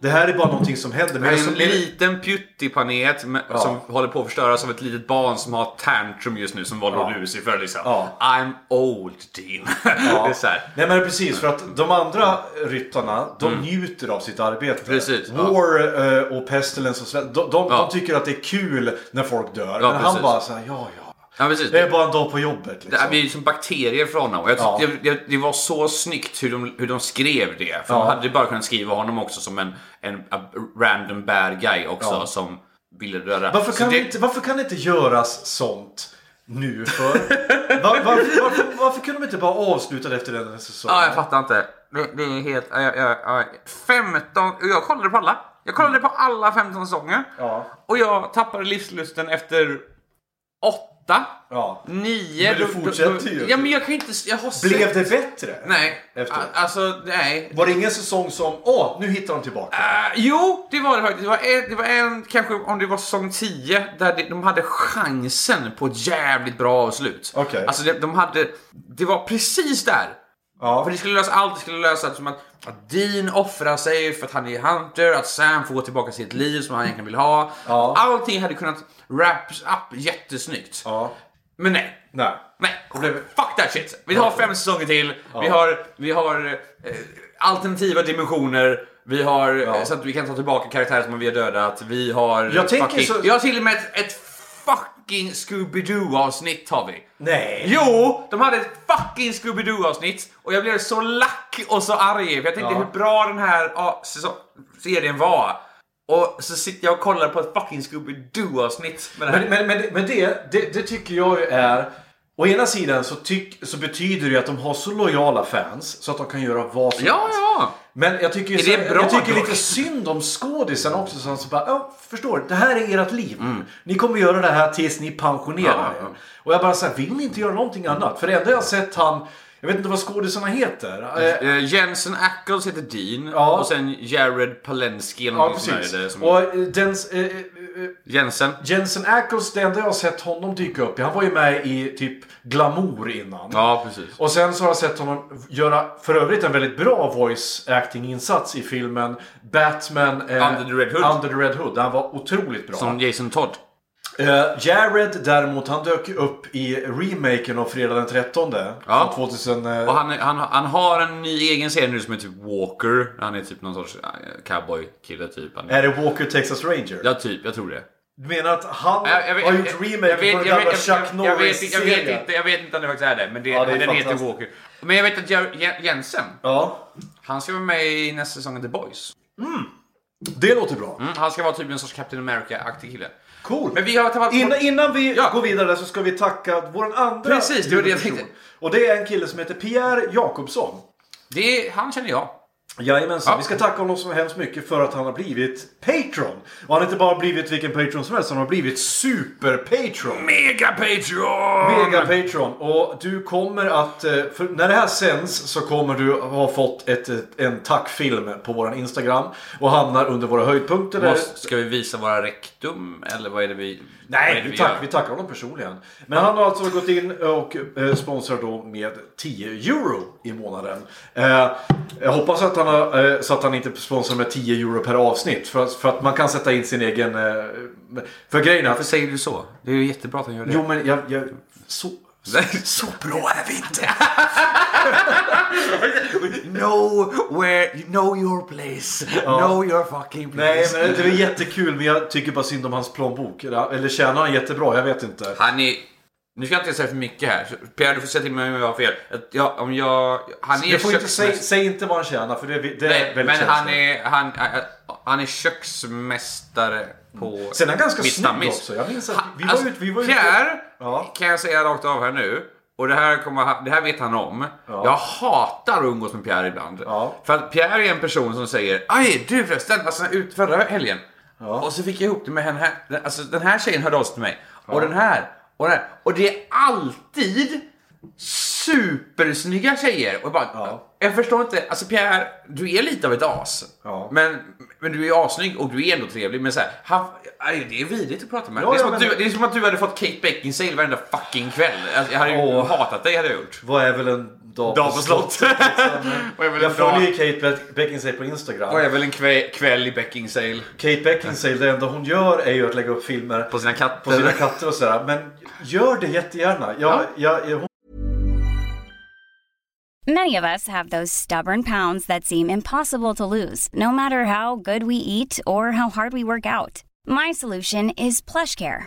Det här är bara någonting som händer. Det Men Mm. är som en liten pyttiplanet med- som håller på att förstöras av ett litet barn som har tantrum just nu som var då Lucifer liksom. Ja. I'm old Dean. det är så här. Mm. Nej men precis, för att de andra ryttarna, de njuter av sitt arbete. Precis, ja. War eh, och Pestilence och svält, de, de, Ja. de tycker att det är kul när folk dör. Ja, men precis. han bara såhär, ja ja. Ja, precis. Det är bara en dag på jobbet Det här liksom. blir ju som bakterier för honom. Och jag tyckte Ja. det, det, det var så snyggt hur de, hur de skrev det. För Ja. de hade bara kunnat skriva honom också som en, en a random bad guy också Ja. som ville döda. Varför Så kan, det... det- inte, varför kan det inte göras sånt nu för? Var, varför, varför, varför kunde de inte bara avsluta det efter den här säsongen? Ja, jag fattar inte. Det, det är helt... Jag, jag, jag, 15... Jag kollade på alla. Jag kollade på alla 15 säsonger. Ja. Och jag tappade livslusten efter 8, Ja. 9... Men du fortsätter ju. Ja, men jag kan inte... Jag har Blev sett- det bättre? Nej. Efteråt. A- Alltså, nej. Var det ingen säsong som, åh, nu hittar de tillbaka? Äh, jo, det var det faktiskt. Det var, en, det var en, kanske om det var säsong 10, där det, de hade chansen på ett jävligt bra avslut. Okej. Alltså, det, de hade... Det var precis där. För Ja. det skulle lösa allt. Det skulle lösa allt som att, att Dean offrar sig för att han är Hunter, att Sam får gå tillbaka till ett liv som han egentligen vill ha. Ja. Allting hade kunnat wraps up jättesnyggt. ja. Men nej. Nej. Nej, fuck that shit. Vi har fem säsonger till. Vi har, vi har eh, alternativa dimensioner. Vi har eh, så att vi kan ta tillbaka karaktärer som vi har dödat. Vi har... Jag tänker fucking, så- Vi har till och med ett, ett fucking Scooby-Doo-avsnitt har vi. Nej. Jo, de hade ett fucking Scooby-Doo-avsnitt och jag blev så lack och så arg för jag tänkte Ja. hur bra den här ja, säsong- serien var. Och så sitter jag och kollar på ett fucking Scooby-Doo-avsnitt med det här. Men, men, men, men det, det, det tycker jag ju är Å ena sidan så, tyck, så betyder det ju att de har så lojala fans så att de kan göra vad som Ja, helst. ja. Men jag tycker, ju Är så, det bra jag tycker dock? lite synd om skådisen också. Som så bara, ja, förstår, det här är ert liv. Ni kommer göra det här tills ni pensionerar Mm. Ja, er. ja. Och jag bara såhär, vill ni inte göra någonting annat? För det enda jag har sett han, jag vet inte vad skådisarna heter. Eh, Eh, Jensen Ackles heter Dean Ja. och sen Jared Palensky eller Ja, någonting sånt precis. där är det som Och eh, den, eh, eh, eh, Jensen. Jensen Ackles, det enda jag har sett honom dyka upp i, han var ju med i typ Glamour innan. Ja, precis. Och sen så har jag sett honom göra, för övrigt, en väldigt bra voice acting-insats i filmen Batman... eh, Under the Red Hood. Under the Red Hood. Han var otroligt bra. Som Jason Todd. Eh, Jared däremot, han dök upp i remaken av Fredag den 13. Ja. Från 2000... eh, Och han, han, han har en ny egen serie nu som är typ Walker. Han är typ någon sorts eh, cowboy-kille typ. Han är, Är det Walker Texas Ranger? ja, typ. Jag tror det. Du menar att han Jag- jag vet- har gjort jag- remaken jag vet- på den jag vet- gamla jag- Chuck jag- jag vet- Jag vet Norris-serien? inte- jag vet inte om det faktiskt är det, men det, Ja, det är den heter fantastiskt. Walker. Men jag vet att Jer- Je- Jensen, Ja. han ska vara med i nästa säsong av The Boys. Det låter bra. Mm, han ska vara typ en sorts Captain America-aktig kille. Cool. Men vi har tappat... Innan, innan vi Ja. går vidare där så ska vi tacka vår andra Precis, det var det jag huvudperson. tänkte. Och det är en kille som heter Pierre Jakobsson. Det är, han känner jag. Jajamensan. Ja. Vi ska tacka honom så hemskt mycket för att han har blivit Patron. Och han har inte bara blivit vilken Patron som helst, han har blivit Super-Patron. Mega Patreon! Mega-Patron. Och du kommer att, eh, för när det här sänds så kommer du ha fått ett, ett, en tackfilm på våran Instagram. Och hamnar under våra höjdpunkter. där. Måste, ska vi visa våra rektum eller vad är det vi... vad är Nej, det vi, gör? tack, vi tackar honom personligen. Men han har alltså gått in och eh, sponsrar då med 10 euro i månaden. Eh, Jag hoppas att han, har, eh, så att han inte sponsrar med 10 euro per avsnitt. För, att- för att man kan sätta in sin egen... eh, För grejen är Varför att... säger du så? Det är ju jättebra att han gör det. Jo, men jag... jag så, så, så bra är vi inte! Know where... Know your place. Know your fucking Nej, men det var jättekul. Men jag tycker bara synd om hans plånbok. Eller eller tjänar han jättebra? Jag vet inte. Han är... Nu ska jag inte säga för mycket här. Pierre, du får säga till mig om jag har fel. Att Jag, om jag... Han är Du får inte, säg, köksmästare. säg inte vad han tjänar, för det, är- det är Nej, väldigt men han känsligt. är, han, äh, han är köksmästare på Sen är han ganska mitt snygg stammis. också. Jag minns att Han- vi var alltså, ute- vi var ute- Pierre, Ja. kan jag säga rakt av här nu. Och det här, kommer, han- det här vet han om. Jag hatar att umgås med Pierre ibland. Ja. För att Pierre är en person som säger Aj, du förresten, alltså ut förra helgen. Och så fick jag ihop det med henne här. den- Alltså den här tjejen hörde av sig till mig. Och den här. Och den här. Och det är alltid supersnygga tjejer. Och bara, Ja. Jag förstår inte, alltså Pierre, du är lite av ett as. Ja. Men, men du är assnygg och du är ändå trevlig. Men så här, han, aj, det är vidrigt att prata med. Ja, det, är som ja, att men- du, det är som att du hade fått Kate Beckinsale varenda fucking kväll. Alltså, jag hade ju Åh. hatat dig hade jag gjort. Vad är väl en dag liksom? Dag på slott. och jag vill en Jag följer ju dag. Kate Beck- Beckinsale på Instagram. Och jag vill en kväll, kväll i Beckinsale. Kate Beckinsale, det enda hon gör är ju att lägga upp filmer På sina katter. på sina katter och sådär. Men gör det jättegärna. Jag, jag, jag, Many of us have those stubborn pounds that seem impossible to lose, no matter how good we eat or how hard we work out. My solution is PlushCare.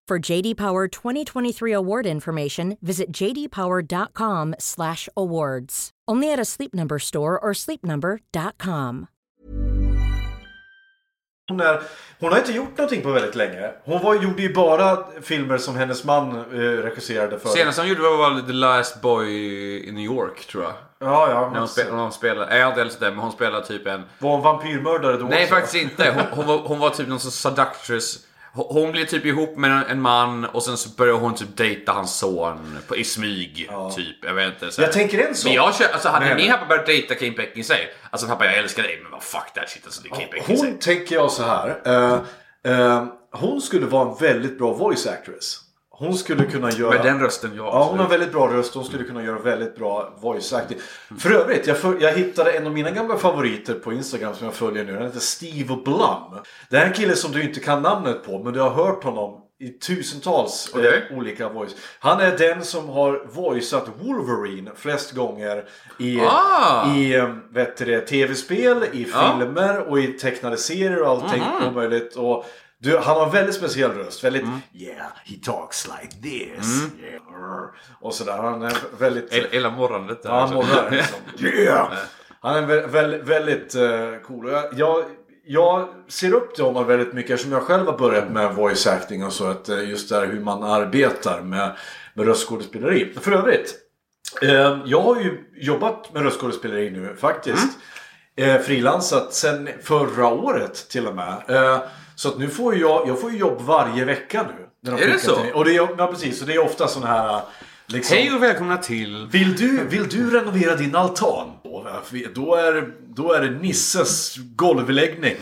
For JD Power 2023 award information, visit jdpower.com/awards. Only at a Sleep Number store or sleepnumber.com. hon, är, hon har inte gjort någonting på väldigt länge. Hon var, gjorde ju bara filmer som hennes man eh, regisserade för. Senast han gjorde var The Last Boy in New York tror jag. Ja, ja. När Hon, hon, spe, när hon spelar, nej, jag har inte heller sett det, men hon spelar typ en var hon vampyrmördare då Nej, också? faktiskt inte. Hon, hon, var, hon var typ någon sorts seductress. Hon blir typ ihop med en- en man och sen så börjar hon typ dejta hans son på, i smyg. Typ, jag vet inte. Så här. Jag tänker en sak. Men jag känner, alltså hade Nej, min men- pappa börjat dejta Kim Beckinsale, alltså pappa jag älskar dig men vad fuck that shit alltså det är Kim Beckinsale. Hon tänker jag så här. eh, eh, hon skulle vara en väldigt bra voice actress. Hon skulle kunna göra... Med den rösten jag Ja, hon har väldigt bra röst. Hon skulle kunna göra väldigt bra voice acting. För övrigt, jag, föl- jag hittade en av mina gamla favoriter på Instagram som jag följer nu. Han heter Steve Blum. Det här är en kille som du inte kan namnet på, men du har hört honom i tusentals eh, Okej. olika voice. Han är den som har voiceat Wolverine flest gånger i, Ah! i eh, vet du det, tv-spel, i filmer och i tecknade serier och allting omöjligt. Och, du, han har en väldigt speciell röst. Väldigt Yeah, he talks like this. Yeah. Och sådär. Han är väldigt... Hela- Hela morgonet där. Ja, han alltså. morrar liksom. Yeah! Han är vä- vä- väldigt eh, cool. Och Jag, jag, jag ser upp till honom väldigt mycket eftersom jag själv har börjat med voice acting och så. Att eh, just där hur man arbetar med, med röstskådespeleri. För övrigt. Eh, jag har ju jobbat med röstskådespeleri nu faktiskt. Mm. Eh, Frilansat sen förra året till och med. Eh, så att nu får ju jag, jag får ju jobb varje vecka nu. när de Är det skickar så? till mig. Och det är, ja, precis. Och det är ofta sådana här... Liksom, Hej och välkomna till... vill du, vill du renovera din altan? Då är, då är det Nisses golvläggning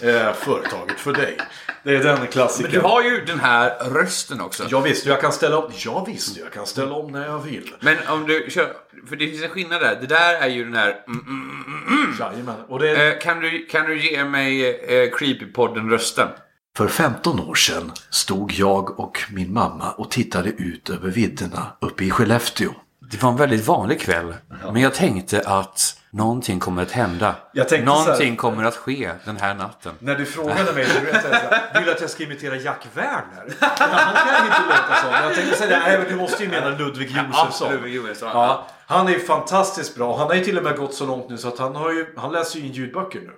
eh, företaget för dig. Det är den klassikern. Du har ju den här rösten också. Ja, visst, jag kan ställa om. Ja, visst, jag kan ställa om när jag vill. Men om du kör... För det finns en skillnad där. Det där är ju den här... Mm, mm, mm, mm. Jajamän. Och det Eh, Kan du, kan du ge mig eh, Creepypodden-rösten? För 15 år sedan stod jag och min mamma och tittade ut över vidderna uppe i Skellefteå. Det var en väldigt vanlig kväll. Men jag tänkte att någonting kommer att hända. Jag tänkte så här- någonting kommer att ske den här natten. När du frågade mig, du vet, jag såhär, vill du att jag ska imitera Jack Werner? Ja, han kan inte låta sån. Jag tänkte säga, nej men du måste ju mena Ludvig Josefsson. Ludvig Josefsson, Ja, han är ju fantastiskt bra. Han har ju till och med gått så långt nu så att han, har ju, han läser ju in ljudböcker nu.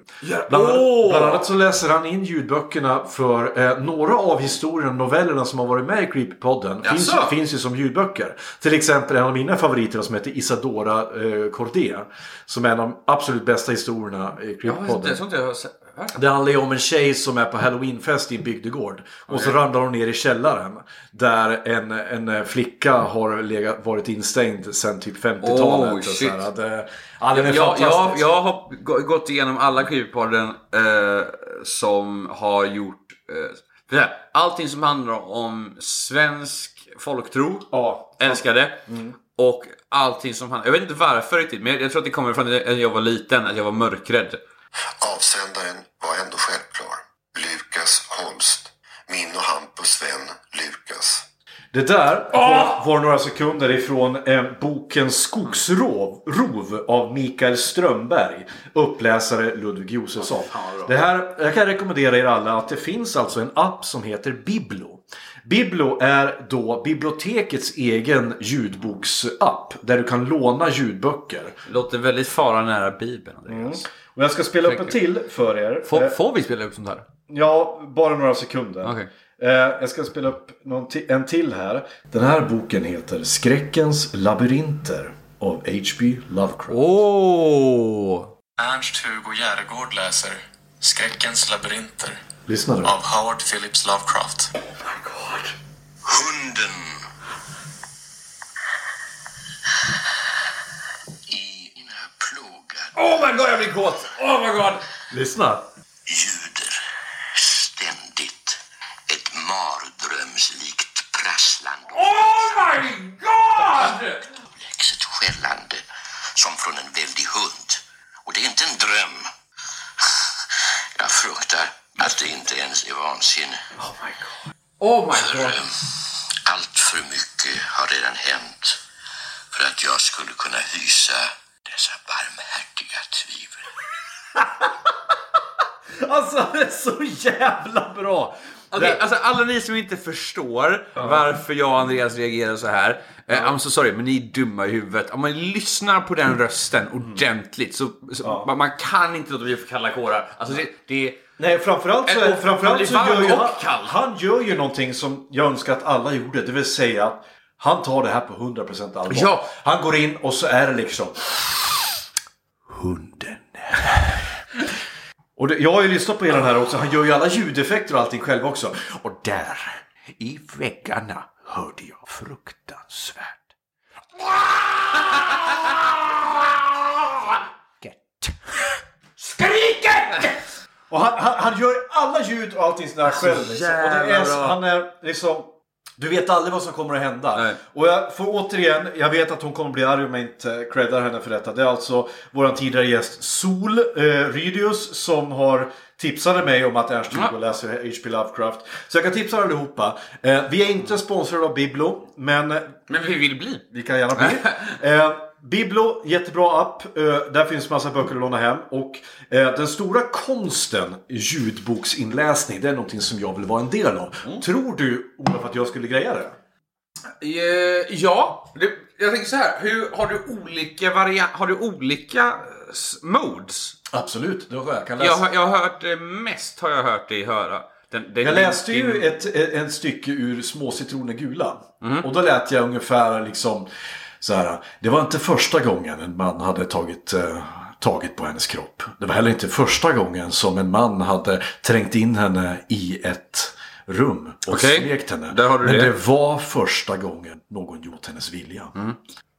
Bland, Åh! bland annat så läser han in ljudböckerna för eh, några av historierna och novellerna som har varit med i Creepypodden. Finns, Jaså? finns ju som ljudböcker. Till exempel en av mina favoriter som heter Isadora eh, Cordia. Som är en av de absolut bästa historierna i Jag har inte- Creepypodden. jag tror inte jag har sett- hört Det handlar ju om en tjej som är på halloweenfest i en bygdegård. Och så ramlar hon ner i källaren. Där en, en eh, flicka har legat, varit instängd sedan typ 50-talet. Oh, och så shit. här. Det, ja, den är jag, jag, fantastisk. jag har gå- gått igenom alla Creepypodden eh, som har gjort... Eh, för det här, allting som handlar om svensk folktro. Ja. Älskar det. Och allting som handlar... Jag vet inte varför riktigt, men jag, jag tror att det kommer från när jag var liten, att jag var mörkrädd. Avsändaren var ändå självklar. Lukas Holst. Min och Hampus vän Lukas. Det där var, var några sekunder ifrån eh, boken Skogsrov rov av Mikael Strömberg. Uppläsare Ludvig Josefsson. Det här, jag kan rekommendera er alla att det finns alltså en app som heter Biblo. Biblo är då bibliotekets egen ljudboksapp. Där du kan låna ljudböcker. Låter väldigt fara nära Bibeln, Andreas. Och jag ska spela upp en till för er. Får, Eh, får vi spela upp sånt här? Ja, bara några sekunder. Okej. Eh, jag ska spela upp någon ti- en till här. Den här boken heter Skräckens labyrinter av H.P. Lovecraft. Åh! Ernst-Hugo Järegård läser Skräckens labyrinter Lyssna nu. av Howard Phillips Lovecraft. Hunden. I mina plågade Oh my god, jag blir kåt! Oh my god! Lyssna. ljuder ständigt ett mardrömslikt prasslande och Oh my god! läxet skällande som från en väldig hund. Och det är inte en dröm. Jag fruktar att det inte ens är vansinne. Oh my god! Eh, Allt för mycket har redan hänt för att jag skulle kunna hysa dessa barmhärtiga tvivel. Alltså det är så jävla bra. Okej, alltså alla ni som inte förstår varför jag och Andreas reagerar så här. eh, I'm so sorry, men ni är dumma i huvudet. Om man lyssnar på den rösten ordentligt så, så man, man kan inte låta bli att få kalla kårar. Alltså det, det är... Nej, framförallt så, Eh, Och framförallt så varm gör ju och han, kall. han gör ju någonting som jag önskar att alla gjorde. Det vill säga att han tar det här på 100% allvar. Ja. Han går in och så är det liksom... Hunden. Och det, jag har ju lyssnat på hela den här också. Han gör ju alla ljudeffekter och allting själv också. Och där, i väggarna, hörde jag fruktansvärt. Gett. Skriket! Och han, han, han gör alla ljud och allting sådär själv. Liksom. Och det Alltså, jävla är, bra. han är liksom... Du vet aldrig vad som kommer att hända. Nej. Och jag får återigen, jag vet att hon kommer bli arg om jag inte creddar henne för detta. Det är alltså våran tidigare gäst Sol eh, Rydius som har tipsade mig om att Ernst Hugo läser H.P. Lovecraft. Så jag kan tipsa er allihopa. Eh, vi är inte sponsrade av Biblo, men Men vi vill bli. vi kan gärna bli. Eh, Biblo, jättebra app. Eh, där finns massa böcker att låna hem. Och eh, den stora konsten, ljudboksinläsning, det är någonting som jag vill vara en del av. Tror du, Olof, att jag skulle greja det? Eh, Ja, det, jag tänker så här. Hur, har du olika varianter? Har du olika s- modes? Absolut, det har jag. Kan Jag, har- jag har hört eh, mest har jag hört dig höra. Den, den, Jag läste ju din- Mhm. ett, ett, ett stycke ur Små citroner gula. Och då lät jag ungefär liksom så här. Det var inte första gången en man hade tagit, eh, tagit på hennes kropp. Det var heller inte första gången som en man hade trängt in henne i ett rum och Okej, smekt henne. där har du Men det. det var första gången någon gjort hennes vilja. Mm.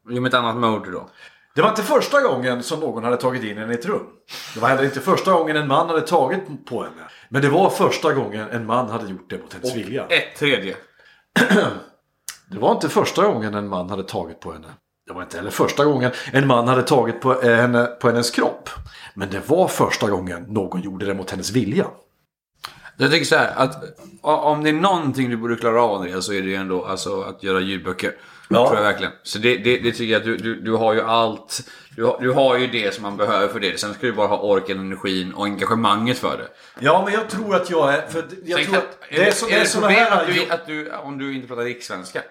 Jo, med ett annat mode då. Det var inte första gången som någon hade tagit in henne i ett rum. Det var heller inte första gången en man hade tagit på henne. Men det var första gången en man hade gjort det mot hennes vilja. Ett tredje. Det var inte första gången en man hade tagit på henne. Det var inte heller första gången en man hade tagit på, eh, henne, på hennes kropp. Men det var första gången någon gjorde det mot hennes vilja. Jag tänker så här, att o- om det är någonting du borde klara av Andreas så är det ju ändå alltså, att göra ljudböcker. Ja. Tror jag verkligen. Så det, det, det tycker jag att du, du, du har ju allt. Du har, du har ju det som man behöver för det. Sen ska du bara ha orken, energin och engagemanget för det. Ja, men jag tror att jag är... För jag Tänk tror att- att det är, så, det är ett såna problem här... att du, att du, om du inte pratar rikssvenska?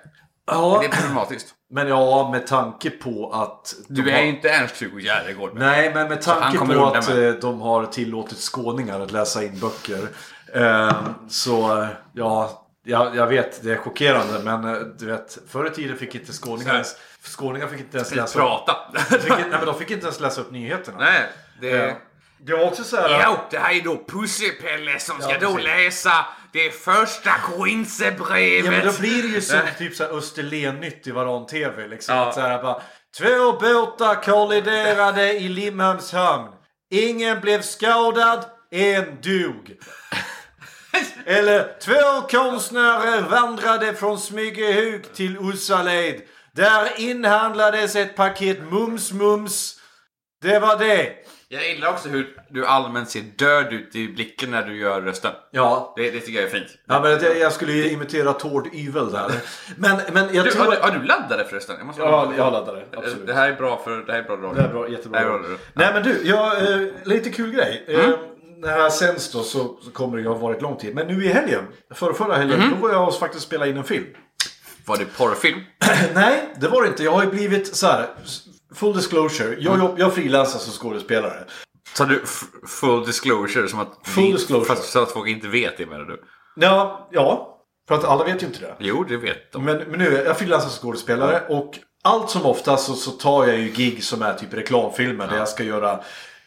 ja, Det är problematiskt. men ja, med tanke på att... de Du är har- ju inte Ernst-Hugo Järegård. Nej, men med tanke kommer på undan att med. eh, de har tillåtit skåningar att läsa in böcker. Eh, så, eh, ja, jag, jag vet, det är chockerande. Men eh, du vet, förr i tiden fick inte skåningar ens... Skåningar fick inte ens läsa Prata. De fick, nej, men de fick inte ens läsa upp nyheterna. Nej, det... Eh, Det var också så här... Ja, det här är då Pussepelle som ska då precis. läsa det första Coinsebrevet. Ja, men då blir det ju som typ så här Österlen-nytt i Varan-TV. Liksom. Ja. Att Så här, bara, Två båtar kolliderade i Limhamnshamn. Ingen blev skadad, en dog. Eller två konstnärer vandrade från Smygehuk till Ussaled. Där inhandlades ett paket Mums-Mums. Det var det. Jag gillar också hur du allmänt ser död ut i blicken när du gör rösten. Ja, Det, det tycker jag är fint. ja men jag, jag skulle ju imitera Tord Yvel där. Men, men jag Du, tror... har, du, har du laddare förresten? Jag måste Ja, jag laddar det. det. Absolut. Det här är bra för... Det här är bra drag. Det är bra, jättebra. Det Mm. här är bra drag. Nej men du, jag, eh, lite kul grej. Eh, när det här sänds då så, så kommer det ju ha varit lång tid. Men nu i helgen, förra, förra helgen, Mm. då var jag och faktiskt spela in en film. Var det porrfilm? Nej, det var det inte. Jag har ju blivit så här. s- Full disclosure, jag, Mm. jobb- jag frilansar som skådespelare. Sa du f- full disclosure? Som att Full vi- disclosure. Fast så att folk inte vet det menar du? Ja, ja, för att alla vet ju inte det. Jo, det vet de. Men, men nu, jag frilansar som skådespelare Mm. och allt som oftast så, så tar jag ju gig som är typ reklamfilmer där jag ska göra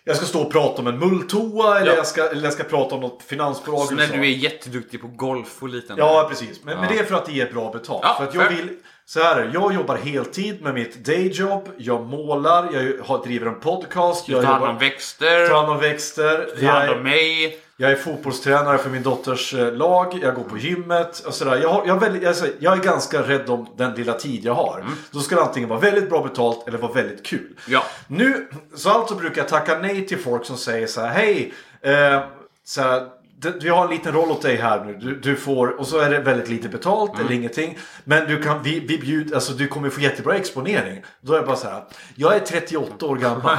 jag ska stå och prata om en mulltoa eller, Ja. jag, ska, eller jag ska prata om något finansbolag. Så eller när så. du är jätteduktig på golf och liten... Ja, precis. Men, men det är för att det ger bra betalt. Ja, för att jag fair. vill... Så här är det. jag jobbar heltid med mitt dayjob, jag målar, jag har, driver en podcast, jag Ta hand jobbar- om växter. tar hand om växter, Ta hand om jag, mig. jag är fotbollstränare för min dotters eh, lag, jag går på gymmet och sådär. Jag, har, jag, välj- jag, säger, jag är ganska rädd om den lilla tid jag har. Då ska det antingen vara väldigt bra betalt eller vara väldigt kul. Ja. Nu, så alltså brukar jag tacka nej till folk som säger så här, hej, eh, så här, "D- vi har en liten roll åt dig här nu. Du, du får, och så är det väldigt lite betalt eller ingenting. Men du kan, vi, vi bjud, alltså du kommer få jättebra exponering. Då är jag bara så här, jag är 38 år gammal.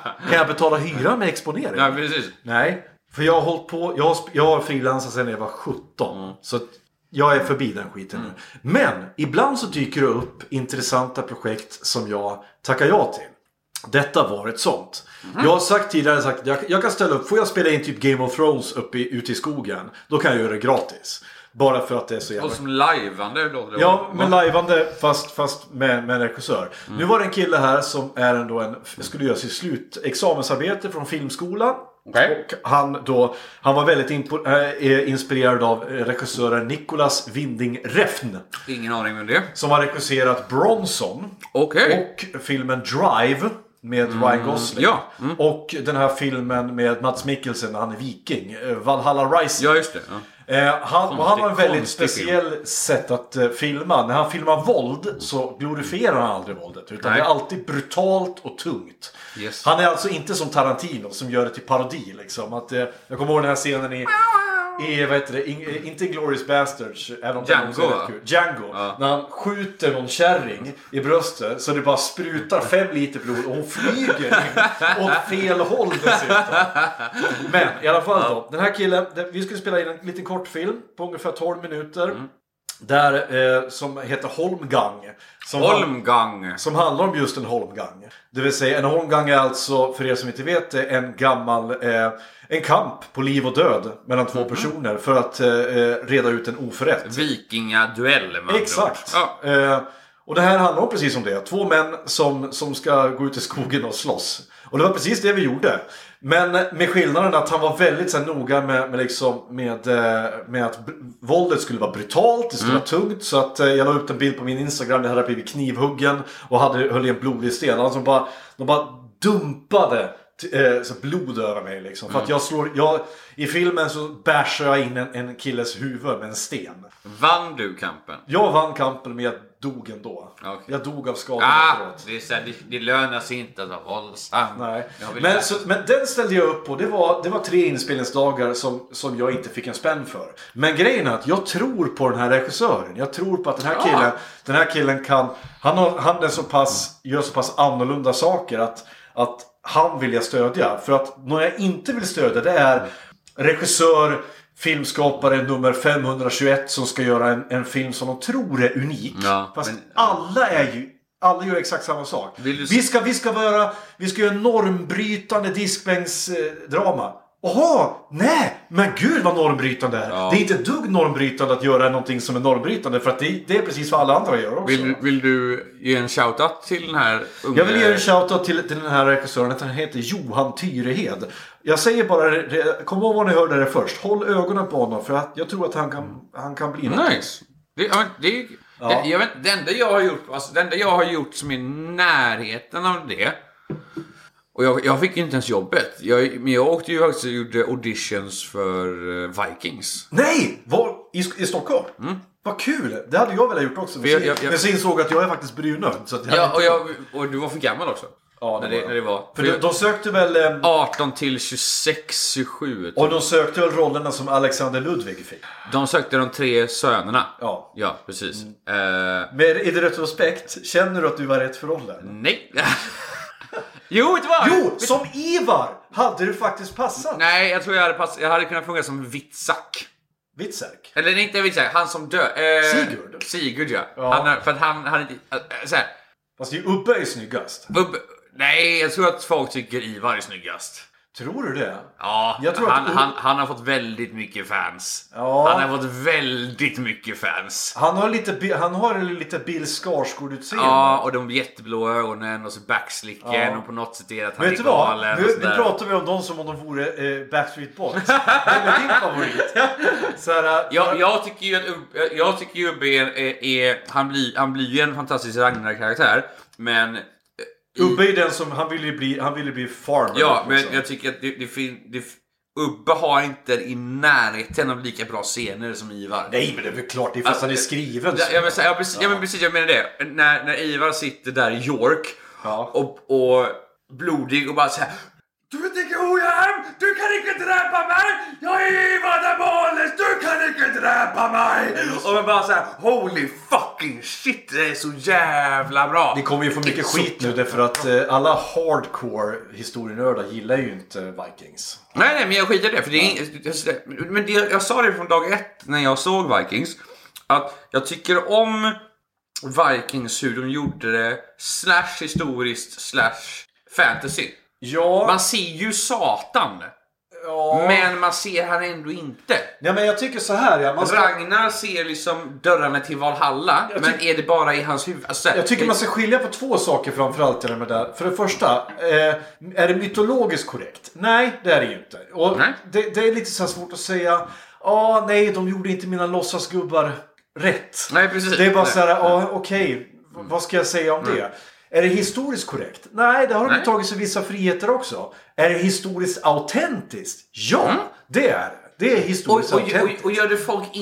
kan jag betala hyran med exponering? Ja, precis. Nej, för jag har hållit på. Jag har, sp- jag har frilansat sedan jag var 17. Så att jag är förbi den skiten nu. Men ibland så dyker det upp intressanta projekt som jag tackar ja till. Detta var ett sånt. Jag har sagt tidigare sagt, att jag, jag kan ställa upp. Får jag spela in typ Game of Thrones uppe i, ute i skogen. Då kan jag göra det gratis. Bara för att det är så jävla Och som lajvande låter det Ja, Mm. men lajvande fast, fast med, med en regissör. Nu var det en kille här som är ändå en, skulle göra sitt slutexamensarbete från filmskolan. Okej. Och han, då, han var väldigt impo- eh, eh, inspirerad av eh, regissören Nicolas Winding Refn. Ingen aning om det. Som har regisserat Bronson. Okej. Mm, Och filmen Drive. Med Ryan Gosling. ja. Mm. Och den här filmen med Mats Mikkelsen när han är viking. eh, Valhalla Rising. Ja, just det. Ja. Eh, han, och han har en väldigt konstig speciell sätt att eh, filma. När han filmar våld så glorifierar han aldrig våldet. Utan Nej. det är alltid brutalt och tungt. Yes. Han är alltså inte som Tarantino som gör det till parodi. Liksom. Att, eh, jag kommer ihåg den här scenen i... I, vad heter det, in, eh, inte Glorious Bastards, även om den också är Django, rätt va? kul. Django. När han skjuter någon kärring i bröstet så det bara sprutar fem liter blod och hon flyger in åt fel håll dessutom. Men i alla fall då. Den här killen, den- vi skulle spela in en liten kortfilm på ungefär 12 minuter. Där, eh, som heter Holmgang. Som Holmgang. som handlar om just en holmgang. Det vill säga en holmgang är alltså, för er som inte vet det, en gammal eh, en kamp på liv och död mellan två personer för att eh, eh, reda ut en oförrätt. Vikingaduell med andra Exakt! ord. Ja. Eh, och det här handlar om precis om det. Två män som, som ska gå ut i skogen och slåss. Och det var precis det vi gjorde. Men med skillnaden att han var väldigt så här, noga med, med, liksom, med, eh, med att br- våldet skulle vara brutalt, det skulle vara tungt. Så att eh, jag la ut en bild på min Instagram där jag hade blivit knivhuggen och hade, höll i en blodig sten. Alltså, de, bara, de bara dumpade t- eh, så blod över mig liksom. För att jag slår, jag, I filmen så bashar jag in en, en killes huvud med en sten. Vann du kampen? Jag vann kampen men jag dog ändå. Okej. Jag dog av skador Ah, efteråt. det, är så här, det, det lönar sig inte att vara våldsam. Nej. Jag vill lära- Men, så, men den ställde jag upp på. Det var, det var tre inspelningsdagar som, som jag inte fick en spänn för. Men grejen är att jag tror på den här regissören. Jag tror på att den här killen, den här killen kan... Han, har, han är så pass, gör så pass annorlunda saker att, att han vill jag stödja. För att någon jag inte vill stödja det är regissör, filmskapare nummer 521 som ska göra en, en film som de tror är unik. Ja, Fast men- alla är ju alla gör exakt samma sak. Vill du- Vi, ska, vi, ska göra, vi ska göra normbrytande diskbänksdrama. Jaha, nej, men gud vad normbrytande det är. Det är inte ett dugg normbrytande att göra någonting som är normbrytande för att det, det är precis vad alla andra gör också. Vill, du- vill du ge en shoutout till den här unge... Jag vill ge en shoutout till, till den här regissören. att Han heter Johan Tyrehed. Jag säger bara, det- det- kom ihåg vad ni hörde det först. Håll ögonen på honom för att jag tror att han kan, han kan Mm. bli något. Nice. Det, ja, men det, det, jag vet, det, enda jag har gjort, alltså, det enda jag har gjort som är i närheten av det. Och jag, jag fick ju inte ens jobbet. Jag, men jag åkte ju faktiskt och gjorde auditions för eh, Vikings. Nej! Var, i, I Stockholm? Vad kul! Det hade jag velat gjort också. Men Mm. jag- jag- så- jag- men så insåg jag att jag är faktiskt brunögd. Så att jag Ja, hade och, inte- jag, och du var för gammal också. Ja, när, det, jag. när det var. För de, de sökte väl... ehm, 18 till 26, 27. Typ. Och de sökte väl rollerna som Alexander Ludwig fick. De sökte de tre sönerna. Ja. Mm. Ja, precis. Eh, Men i retrospekt, känner du att du var rätt för rollen? nej. jo, det var Jo! Som Ivar hade du faktiskt passat! Nej, jag tror jag hade, pass... jag hade kunnat funka som Vitsak. Witzerk. Eller nej, inte Vitsak, han som dör. Eh, Sigurd. Sigurd ja. Ja. Han, har- för att han hade inte... Äh, såhär, Fast det är ju Ubbe är snyggast. Bub... Nej, jag tror att folk tycker Ivar är snyggast. Tror du det? Ja, Jag tror han, att- han, han har fått väldigt mycket fans. Ja. Han har fått väldigt mycket fans. Han har lite, Bi- han har lite Bill Skarsgård-utseende. Ja, och de jätteblå ögonen och så backslicken och på något sätt är det att han Vet du är vad? galen. och Nu, nu sådär. pratar vi om dem som om de vore eh, Backstreet Boys. Vem är din favorit? Så här, eh, Jag, jag tycker ju att Ub- jag- jag tycker ju Ubbe är, är, är han, blir, han blir ju en fantastisk Ragnar-karaktär. Men Ubbe är den som, han ville ju bli, han ville bli farmer. ja, men liksom. jag tycker att det, det, fin, det Ubbe har inte i närheten av lika bra scener som Ivar. Nej men det är väl klart, det är för att han är skriven Alltså, Ja, ja, men, så- ja, precis, ja. men precis, jag menar det. När, när Ivar sitter där i York Ja. och, och blodig och bara så här. Du vet inte hur jag är! Du kan inte dräpa mig! Jag är Ivar Demonis! Du kan inte dräpa mig! Och man bara så här, holy fucking shit, det är så jävla bra! Ni kommer ju få mycket skit nu därför att eh, alla hardcore historienördar gillar ju inte Vikings. Nej, nej, men jag skiter i det. För det är ing- men det, jag sa det från dag ett när jag såg Vikings. Att jag tycker om Vikings hur de gjorde det. Slash historiskt, slash fantasy. Ja, Man ser ju Satan. Ja. Men man ser han ändå inte. Nej men jag tycker så här ja. Man ska, Ragnar ser liksom dörrarna till Valhalla, Jag men tyck- är det bara i hans huvud? Alltså, jag tycker det- man ska skilja på två saker framförallt i det med där. För det första, eh, är det mytologiskt korrekt? Nej, det är det ju inte. Och Nej. det, det är lite så här svårt att säga. Ja, nej, de gjorde inte mina låtsasgubbar rätt. Nej, precis. Det är bara Nej. Mm. så här, ja, okej, v- vad ska jag säga om det? Är det historiskt korrekt? Nej, det har de ju Nej. tagit sig vissa friheter också. Är det historiskt autentiskt? Ja, det är det. Det är Och, historiskt Mm. och, och, autentiskt. och gör det folk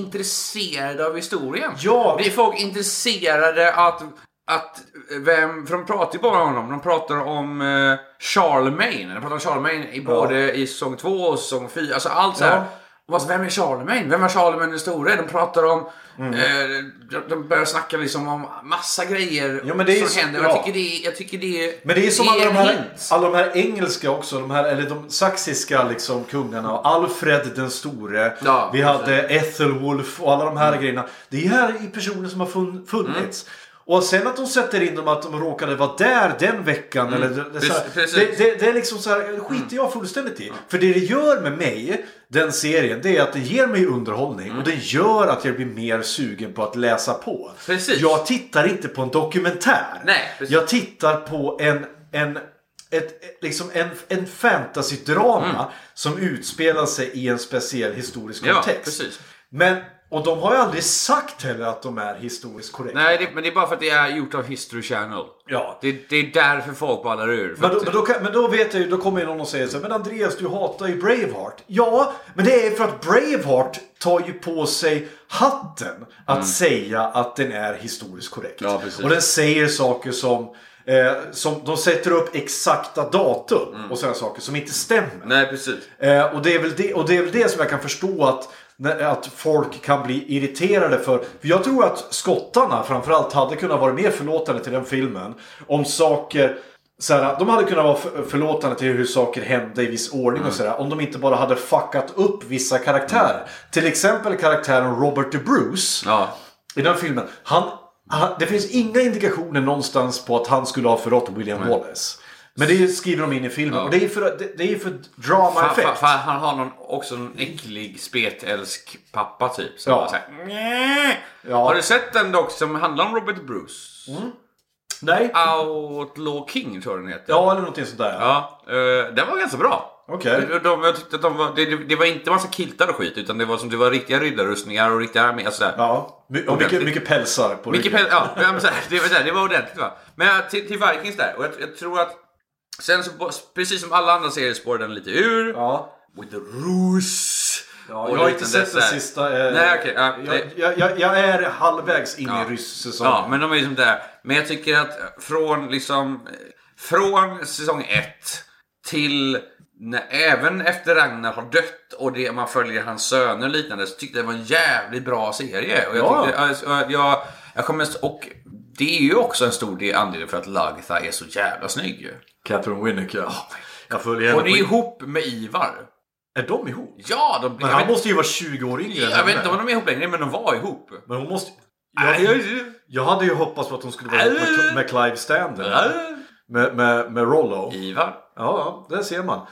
intresserade av historien? Ja. Blir folk intresserade att... att vem, för de pratar ju bara om honom. De pratar om eh, Charlemagne. De pratar om Charlemagne i både i säsong 2 och säsong 4. Alltså allt så här. Ja. Och Alltså, vem är Charlemagne? Vem var Charlemagne den store? De pratar om... Mm. Eh, de, de börjar snacka liksom om massa grejer Jo, men det är ju så- som händer. ja. Jag tycker det är... Jag tycker det är Alltså- Men det är som alla de, en här, hint. alla de här engelska också, de här, eller de saxiska liksom, kungarna. och Alfred den store. Ja, vi hade Ethelwulf och alla de här grejerna. Det är här i personer som har fun, funnits. Mm. Och sen att de sätter in dem att de råkade vara där den veckan. Eller det, det, är så här, Mm. Precis, precis. Mm. det, det, det är liksom så här, det skiter jag fullständigt i. För det det gör med mig, den serien, det är att den ger mig underhållning. Mm. Och den gör att jag blir mer sugen på att läsa på. Precis. Jag tittar inte på en dokumentär. Nej, precis. jag tittar på en, en, ett, liksom en, en fantasydrama som utspelar sig i en speciell historisk Mm. Ja, kontext. precis. Men, och de har ju aldrig sagt heller att de är historiskt korrekta. Nej, det, men det är bara för att det är gjort av History Channel. Ja. Det, det är därför folk ballar ur. För Men då, att- men, då, kan- men då vet jag ju, då kommer ju någon och säger så här, men Andreas du hatar ju Braveheart. Ja, men det är för att Braveheart tar ju på sig hatten att säga att den är historiskt korrekt. Mm. Ja, precis. och den säger saker som, eh, som de sätter upp exakta datum Mm. och sådana saker som inte stämmer. Nej, precis. Eh, och, det är väl det, och det är väl det som jag kan förstå att, när- att folk kan bli irriterade för. för. Jag tror att skottarna framförallt hade kunnat vara mer förlåtande till den filmen. Om saker, såhär, de hade kunnat vara för- förlåtande till hur saker hände i viss ordning och sådär. Om de inte bara hade fuckat upp vissa karaktärer. Till exempel karaktären Robert DeBruce. Ja. I den filmen. Han, han, det finns inga indikationer någonstans på att han skulle ha förrått William Wallace. Men det skriver de in i filmen. Och det är för, det, det är för Fan, drama-effekt. fan, fan, han har någon, också någon äcklig spetälsk pappa typ. Som Ja. bara så här, "Nä." Ja. Har du sett den dock som handlar om Robert Bruce? Nej. Outlaw King tror jag den heter. Ja, eller någonting sånt där. Ah. Ja, eh, den var ganska bra. Okej. De, de, jag tyckte att de var, det, det- det var inte massa kiltar och skit utan det var, som, det var riktiga riddarrustningar och riktiga arméer. Alltså, där. Ja. My- Och mycket, Ordentligt. mycket pälsar på Mycket ryggen. pengar, ja, men så här, det, var så här, det var ordentligt va. Men jag- till, till Vikings där, och jag, jag tror att sen så, precis som alla andra serier spårar den lite ur. Ja. With the Rus. Ja, och jag har lite inte sett så den här- sista. Eh, Nej, okej. ja, det- jag, jag, jag, jag är halvvägs in Ja. i ryss-säsongen. Ja, men de är ju som där. Men jag tycker att eh, från liksom eh, från säsong 1 till när, även efter Ragnar har dött och det, man följer hans söner och liknande så tyckte jag det var en jävligt bra serie. Och jag, Ja. tyckte, alltså, jag, jag kommer, och det är ju också en stor del anledning för att Lagtha är så jävla snygg ju. Catherine Winnick, ja. jag följer Oh Hon henne. på- är ihop med Ivar. Är de ihop? Ja, de, Men jag, han vet, måste ju vara 20 år yngre än jag vet henne. inte om de är ihop längre, men de var ihop. Men hon måste... Nej, Jag, jag- jag hade ju hoppats på att hon skulle vara ihop med, med Clive Stander. Äh, Med, med, med Rollo. Ivar. Ja, ja, där ser man.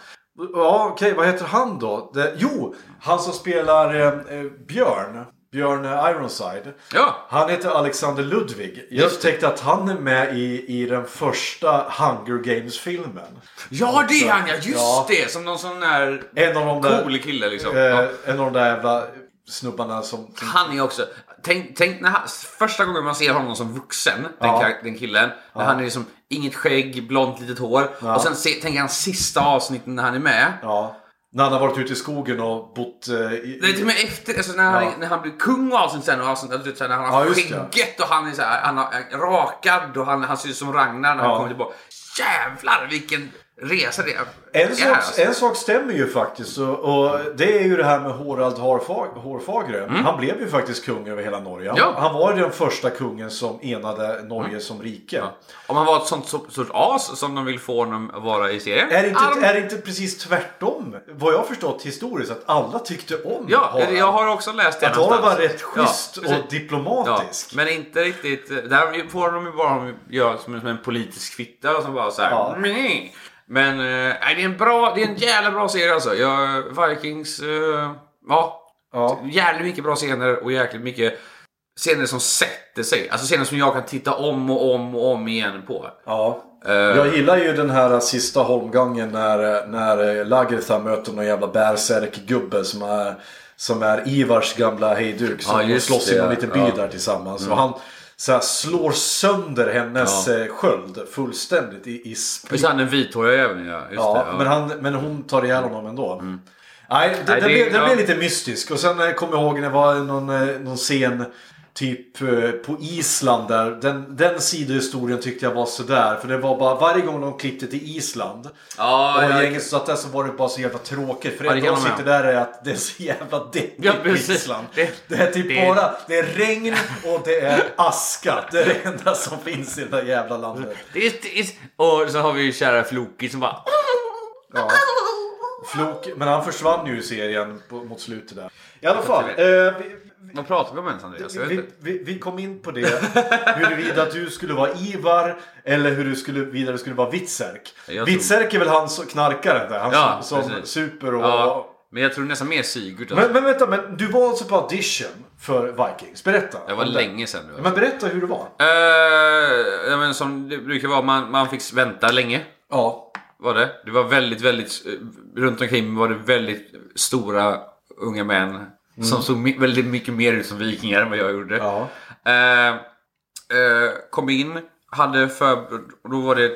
Ja, okej, vad heter han då? Det, jo, han som spelar eh, eh, Björn. Björn Ironside. Ja. Han heter Alexander Ludwig. Jag upptäckte att han är med i, i den första Hunger Games-filmen. Ja, det är han ja! Just Ja. det! Som någon sån där En av de där... cool kille liksom. eh, Ja. En av de där jävla snubbarna som... som Han är också... Tänk, tänk när han, första gången man ser honom som vuxen, den, Ja. kar- den killen. När han är liksom inget skägg, blont litet hår. Och sen se, tänk hans sista avsnitt när han är med. ja, när han har varit ute i skogen och bott... Eh, i, Nej, till och med efter, alltså när, han, Ja. när han blir kung och avsnitt sen, och avsnitt, alltså, du vet, så här, när han har Ja, just det. skägget och han är så här, han har, är rakad och han, han ser ut som Ragnar när Ja. han kommer tillbaka. Jävlar vilken resa det är. En sak, alltså. en sak stämmer ju faktiskt och, och det är ju det här med Harald Hårfag, Hårfagre. Han blev ju faktiskt kung över hela Norge. Mm. Han, Ja. Mm. han var ju den första kungen som enade Norge som rike. Om han var ett sånt sort, sort as som de vill få honom att vara i serien. Är, det inte, Arm- är det inte precis tvärtom? Vad jag har förstått historiskt att alla tyckte om Ja, Harald. jag har också läst det Att Harald var någonstans. rätt schysst Ja, precis. och diplomatisk. Ja, men inte eh, riktigt. Där får de ju bara göra som, som en politisk fitta och som bara så här. Ja. "Meh." Men eh, nej, det, är en bra, det är en jävla bra serie alltså. Jag, Vikings, eh, ja. Ja. Jävligt mycket bra scener och jäkligt mycket scener som sätter sig. Alltså scener som jag kan titta om och om och om igen på. Ja. Eh. Jag gillar ju den här sista holmgången när, när Lagertha möter någon jävla bärsärkgubbe som är, som är Ivars gamla hejduk. Som Ja, just slåss i det. någon liten by Ja. Mm. där tillsammans. Och han så här, slår sönder hennes Ja. eh, sköld fullständigt i, i split. Visst är han den vithåriga även ja. Just Ja, det, ja. Mm. Men, han, men hon tar ihjäl honom ändå. Nej, det, Nej, det, det- blev, det ja. blev lite mystisk. Och sen eh, kommer jag ihåg när det var någon, eh, någon scen typ eh, på Island där. Den, den sidohistorien tyckte jag var sådär. För det var bara varje gång de klippte till Island. Ja, och ja. gänget satt där så var det bara så jävla tråkigt. För det Ja, det enda kan de jag med. sitter där är att det är så jävla deppigt Ja, på precis. Island. Det- Det, är typ det- bara det är regn och det är aska. Det är det enda som finns i det där jävla landet. It is... Och så har vi ju kära Floki som bara... Ja. Flok, men han försvann ju i serien på, mot slutet där. I alla fall. Eh, vi, Vad pratar vi om ens Andreas? Alltså, Jag vet vi, inte. vi, vi kom in på det. Huruvida du skulle vara Ivar eller hur du skulle, vidare skulle vara Witzerk. tror- Witzerk är väl han som knarkaren där. Han Ja, som, som precis. super och... Ja, men jag tror nästan mer Sigurd. Alltså. Men, men vänta, men du var alltså på audition för Vikings. Berätta. Det var om länge sedan nu. Men berätta hur det var. Eh, ja, men som det brukar vara, man, man fick vänta länge. Ja. Var det. Det var väldigt, väldigt... eh, Runt omkring var det väldigt stora unga män. Som såg mi- väldigt mycket mer ut som vikingar än vad jag gjorde. Mm. Ja. Eh, eh, kom in, hade för... Då var det...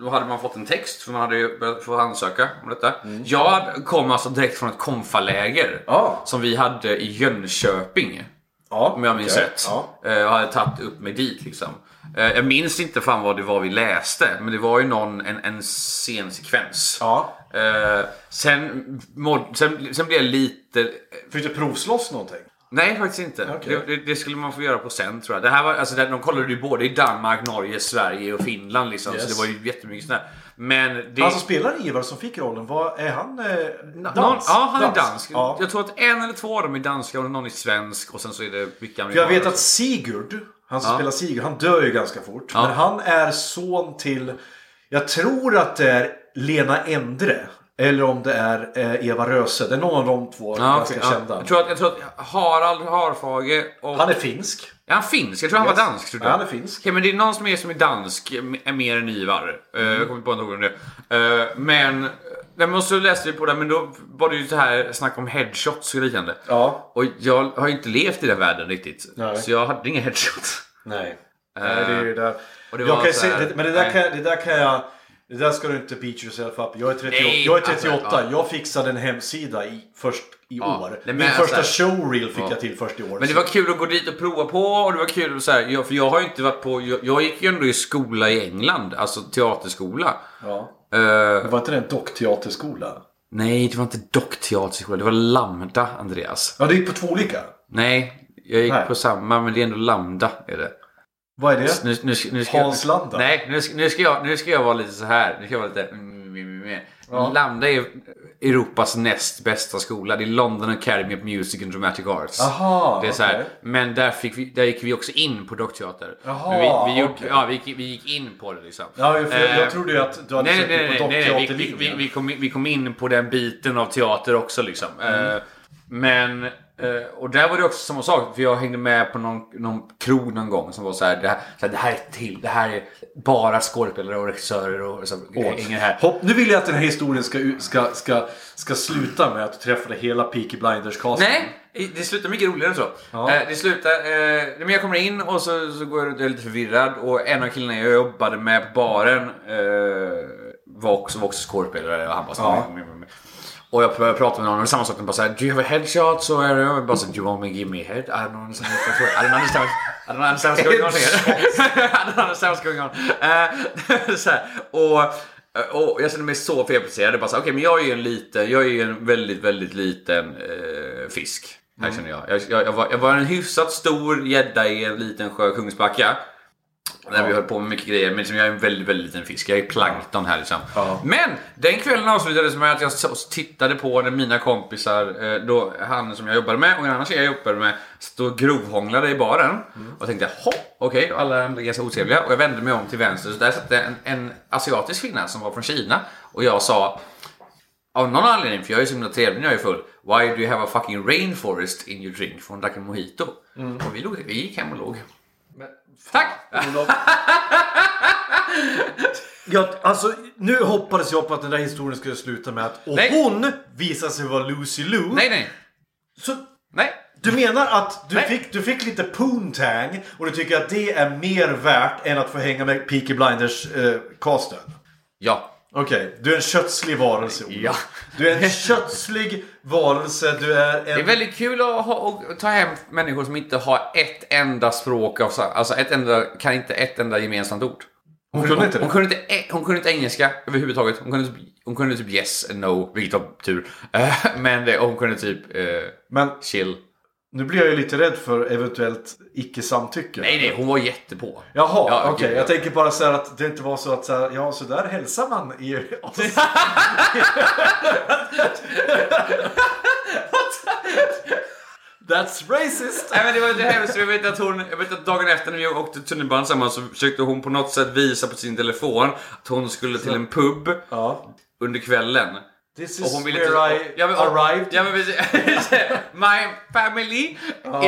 Då hade man fått en text för man hade ju börjat få ansöka om detta. Jag kom alltså direkt från ett konfaläger. Mm. Ja. Som vi hade i Jönköping. ja. Om jag minns okej. rätt. Ja. Eh, och hade tagit upp mig dit liksom. Eh, jag minns inte fan vad det var vi läste. Men det var ju någon, en, en scensekvens. ja. Eh, sen, mod, sen, sen blev jag lite... eh, Fick du provslåss någonting? Nej, faktiskt inte. Okej. Det, det, det skulle man få göra på sen tror jag. Det här var, alltså, det- de kollade ju både i Danmark, Norge, Sverige och Finland liksom. Så Yes. det var ju jättemycket sånt där. Men det... Han som Alltså, spelar Ivar som fick rollen, vad, är han eh, dansk? Någon, ja, han är dansk. Ja. Jag tror att en eller två av dem är danska och någon är svensk och sen så är det vilka För jag vet att Sigurd, han som spelar Sigurd, han dör ju ganska fort. Men han är son till, jag tror att det är Lena Endre. Eller om det är eh, Eva Röse. Det är någon av de två Ja, ganska okej, ja. kända. Jag, tror att, jag tror att Harald Harfage och... Han är finsk. Är han finsk? Jag tror han Yes. var dansk. Tror jag. Ja, han är finsk. Okej, men det är någon som är, som är dansk, är mer än Ivar. Eh, Jag kommer på en det. Eh, Men... Nej, men så läste vi på det, men då var det ju så här snack om headshots och liknande. Ja. Och jag har ju inte levt i den världen riktigt. Nej. Så jag hade inga headshots. Nej. Nej, det är ju där. Eh, och det jag var kan ju så här- säga, det, men det där, nej. kan, det där kan jag... Det där ska du inte beat yourself up. Jag är 38. Nej, jag, är 38. alltså, ja. jag fixade en hemsida i, först i Ja, år. nej, men Min alltså- första showreel fick Ja. jag till först i år. Men det så- var kul att gå dit och prova på och det var kul så här, jag, för jag har ju inte varit på, jag, jag gick ju ändå i skola i England, alltså teaterskola. ja. Eh, det var inte det en dockteaterskola? nej, det var inte dockteaterskola, det var Lambda, Andreas. Ja, det gick på två olika. Nej, jag gick Nej. på samma, men det är ändå Lambda. Är det. Vad är Nu, det? nu, ska- nu ska Hans jag, Lambda? Nej, nu, ska- nu, ska jag, nu ska jag vara lite så här. Nu ska jag vara lite... mm, mm, mm. Lambda är Europas näst bästa skola. Det är London Academy of Music and Dramatic Arts. Aha, det är så här. okej. Men där, fick vi, där gick vi också in på dockteater. Jaha, Men vi, vi, gjorde, okej. ja, vi, gick, vi gick in på det liksom. Ja, för jag, Eh, jag trodde ju att du hade Nej, sökt nej, nej, på nej, nej, vi, vi, vi, dockteaterlinjen. vi, kom in, vi kom in på den biten av teater också liksom. Mm. Eh, men, eh, och där var det också samma sak. För jag hängde med på någon, någon krog någon gång som var så här. Det här, så här, det här är till, det här är bara skådespelare och regissörer och så, ingen här. Hopp, nu vill jag att den här historien ska, ut- ska, ska, ska sluta med att du träffade hela Peaky Blinders-casten. Nej, det slutar mycket roligare än så. Ja. Eh, Det slutar, eh, men jag kommer in och så, så går jag runt och är lite förvirrad och en av killarna jag jobbade med på baren eh, var också, var också skådespelare och han bara så, Ja. "Mm, mm, mm." Och jag började prata med honom och samma sak, han bara såhär Do you have a headshot? Så är det. Jag bara så, Do you want me to give me a head? I don't understand what's going on. I don't understand, I don't understand what's going on here. I don't understand what's going on. Eh, så här, och, och jag kände mig så felplacerad. Jag bara så här, Okej, men jag är ju en liten, jag är ju en väldigt, väldigt liten eh, fisk. Här känner jag. Jag, jag, jag, var, jag var en hyfsat stor gädda i en liten sjö, Kungsbacka. När vi höll på med mycket grejer. Men liksom, jag är en väldigt, väldigt liten fisk. Jag är plankton här liksom. Ja. Men den kvällen avslutades med att jag s- tittade på när mina kompisar, eh, då, han som jag jobbade med och en annan tjej jag jobbade med, stod och grovhånglade i baren. Och tänkte, hopp, okej, och alla blev ganska otrevliga. Och jag vände mig om till vänster, så där satt det en, en asiatisk kvinna som var från Kina. Och jag sa, av någon anledning, för jag är så himla trevlig när jag är full. Why do you have a fucking rainforest in your drink? Från Duck and Mojito. Mm. Och vi, låg, vi gick hem och låg. Tack! Olof. Jag, alltså, nu hoppades jag på att den där historien skulle sluta med att och Nej. hon visar sig vara Lucy Lou. Nej, nej, Så nej. du menar att du Nej. fick, du fick lite poontang och du tycker att det är mer värt än att få hänga med Peaky eh, Blinders-casten? Ja. Okej, du är en kötslig varelse Olof. Ja. Du är en kötslig varelse, du är Det är en... väldigt kul att, ha, och ta hem människor som inte har ett enda språk av sa- Alltså ett enda, kan inte ett enda gemensamt ord. Hon kunde inte det? Hon kunde inte, e- hon kunde inte engelska överhuvudtaget. Hon kunde, typ- hon kunde typ yes and no, vilket var tur. Eh, Men det, och hon kunde typ eh, Men chill. nu blir jag ju lite rädd för eventuellt icke-samtycke. Nej, nej, hon var jättepå. Jaha, Ja, okej. gud, ja. Jag tänker bara så här att det inte var så att så här, ja, så där hälsar man i That's racist! Nej men det var det hemskt. Jag vet att hon, jag vet att dagen efter när vi åkte tunnelbanan tillsammans så försökte hon på något sätt visa på sin telefon att hon skulle till en pub Ja. under kvällen. This Och is hon ville where inte... I Ja, men- arrived. Ja, men precis. My family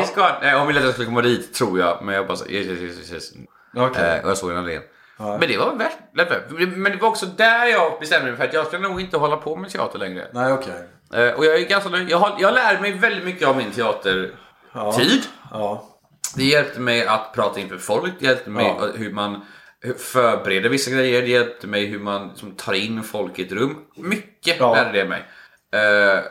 is gone. Nej, hon ville att jag skulle komma dit tror jag. Men jag bara så, yes, yes, yes, yes, yes. Okej. Eh, och jag såg henne le. Men det var värt, lätt värt. Men det var också där jag bestämde mig för att jag skulle nog inte hålla på med teater längre. Nej, okej. Eh, och jag är ganska nöjd. jag, har, jag lär mig väldigt mycket av min teatertid. Ja. Det hjälpte mig att prata inför folk, det hjälpte mig Ja. hur man förbereder vissa grejer, det hjälpte mig hur man liksom, tar in folk i ett rum. Mycket Ja. lärde det mig. Uh,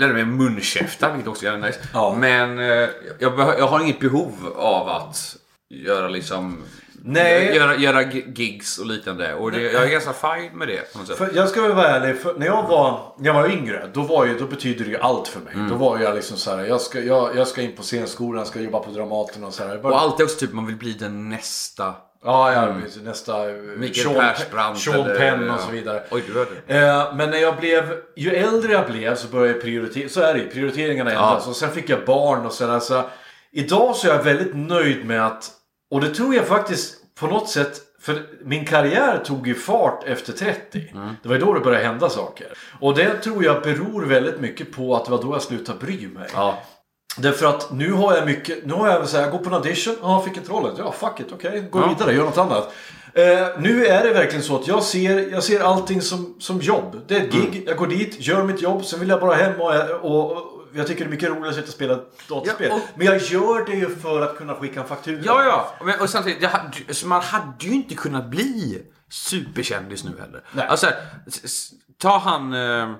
lärde mig munkäfta, vilket också är nice. Ja. Men eh, jag, beh- jag har inget behov av att göra liksom Nej. Göra, göra gi- gigs och liknande. Och det, jag är ganska fine med det på något sätt. För jag ska väl vara ärlig, för när jag var, när jag var yngre då, var ju, då betydde det ju allt för mig. Mm. Då var jag liksom så här, jag ska, jag, jag ska in på scenskolan, jag ska jobba på Dramaten och så här. Jag bara- Och alltid också typ man vill bli den nästa. Ja, ja precis. nästa... eh, Mikael Sean- Persbrandt Sean eller- Penn ja. och så vidare. Oj, du hörde. Eh, Men när jag blev, ju äldre jag blev så började jag prioritera, så är det ju, prioriteringarna ändras. Och sen fick jag barn och sådär. Så idag så är jag väldigt nöjd med att, och det tror jag faktiskt på något sätt, för min karriär tog ju fart efter 30. Mm. Det var ju då det började hända saker. Och det tror jag beror väldigt mycket på att det var då jag slutade bry mig. Ja. Därför att nu har jag mycket, nu har jag så här, jag går på en audition, ja fick inte rollen, ja fuck it, okej, gå vidare, gör något annat. Eh, nu är det verkligen så att jag ser, jag ser allting som, som jobb. Det är ett Mm. gig, jag går dit, gör mitt jobb, sen vill jag bara hem och, och, och jag tycker det är mycket roligare att sitta och spela dataspel. Ja, och- Men jag gör det ju för att kunna skicka en faktura. Ja, ja. Men, och samtidigt, jag hade, så man hade ju inte kunnat bli superkändis nu heller. Nej. Alltså, s- s- ta han... Eh,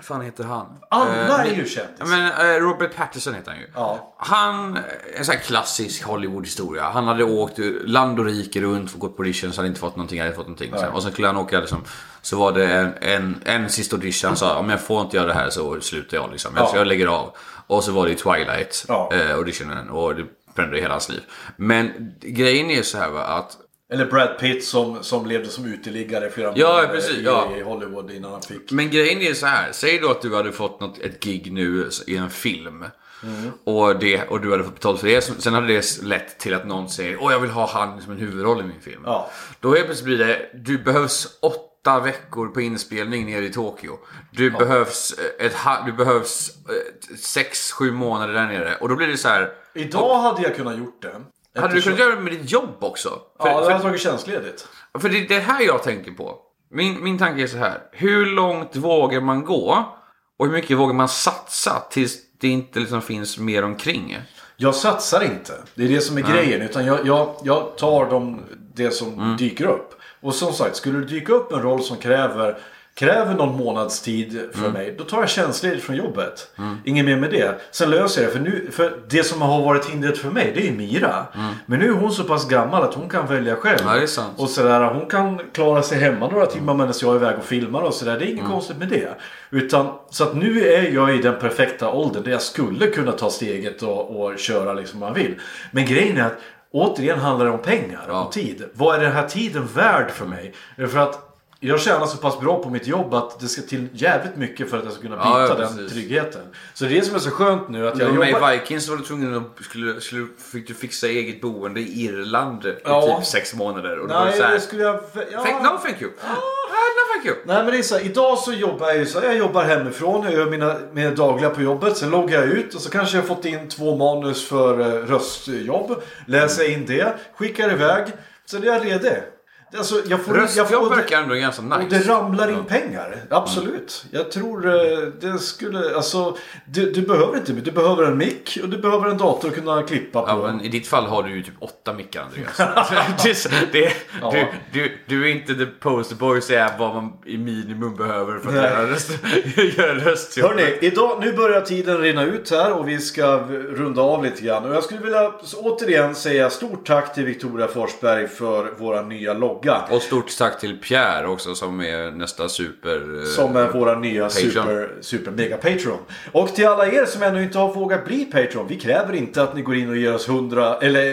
fan heter han? Alla Eh, är ju Ja, kändisar. Men eh, Robert Patterson heter han ju. Alltså- Ja. Han, eh, en sån här klassisk Hollywood-historia. Han hade åkt ur land och rike runt, gått på auditions, hade inte fått någonting, hade fått någonting. Sen, och sen skulle han åka liksom, så var det en, en, en sista audition, han sa om jag får inte göra det här så slutar jag liksom. Jag, Ja. jag lägger av. Och så var det ju Twilight Ja. eh, auditionen och det förändrade hela hans liv. Men grejen är ju så här va, att Eller Brad Pitt som, som levde som uteliggare i flera Ja, precis, i, ja. i Hollywood innan han fick. Men grejen är så här. Säg då att du hade fått något, ett gig nu i en film. Och, det, och du hade fått betalt för det. Sen hade det lett till att någon säger Åh, jag vill ha han som en huvudroll i min film. Ja. Då helt plötsligt blir det, du behövs åtta veckor på inspelning nere i Tokyo. Du behövs, eh, ett, ha- du behövs eh, sex, sju månader där nere. Och då blir det så här. Idag hade jag kunnat gjort det. Hade du Eftersom- kunnat göra det med ditt jobb också? För- Ja, då hade för- jag tagit tjänstledigt. för det är det här jag tänker på. Min, min tanke är så här. Hur långt vågar man gå? Och hur mycket vågar man satsa tills det inte liksom finns mer omkring? Jag satsar inte. Det är det som är grejen. Utan jag, jag, jag tar de, det som Mm. dyker upp. Och som sagt, skulle det dyka upp en roll som kräver, kräver någon månads tid Mm. för mig. Då tar jag tjänstledigt från jobbet. Inget mer med det. Sen löser jag det. För, nu, för det som har varit hindret för mig, det är ju Mira. Men nu är hon så pass gammal att hon kan välja själv. Mm. Ja, det är sant. Och sådär, hon kan klara sig hemma några timmar medan jag är iväg och filmar och sådär. Det är inget Mm. konstigt med det. Utan, så att nu är jag i den perfekta åldern där jag skulle kunna ta steget och, och köra liksom man vill. Men grejen är att Återigen handlar det om pengar Ja. och tid. Vad är den här tiden värd för mig? För att jag tjänar så pass bra på mitt jobb att det ska till jävligt mycket för att jag ska kunna byta Ja, ja, den precis. tryggheten. Så det är det som är så skönt nu att Du jag var med jobbar... i Vikings så var du tvungen att skulle, skulle, fick du fixa eget boende i Irland i Ja. typ sex månader. Och då var det Nej, så här, det skulle jag... Ja. thank, no thank you. Ah, no thank you. Nej men det är så här, idag så jobbar jag ju så här, jag jobbar hemifrån, jag gör mina, mina dagliga på jobbet, sen loggar jag ut och så kanske jag fått in två manus för eh, röstjobb, läser in det, skickar iväg, sen är jag redig. Alltså, jag får, jag Röstjobb får, verkar ändå ganska nice. Mm. och det ramlar in pengar, absolut. Jag tror eh, det skulle, alltså du, du behöver inte, du behöver en mick och du behöver en dator att kunna klippa på. Ja, men I ditt fall har du ju typ åtta mickar Andreas. det, är så- det, du, du, du är inte the posterboy så här vad man i minimum behöver för att Nej. göra röst, göra röstjobb. Hörni, idag, nu börjar tiden rinna ut här och vi ska runda av lite grann. Och jag skulle vilja återigen säga stort tack till Victoria Forsberg för vår nya logga. Och stort tack till Pierre också som är nästa super... eh, Som är våra nya Patreon. super, super mega Patreon. Och till alla er som ännu inte har vågat bli Patreon. Vi kräver inte att ni går in och ger oss 100 eller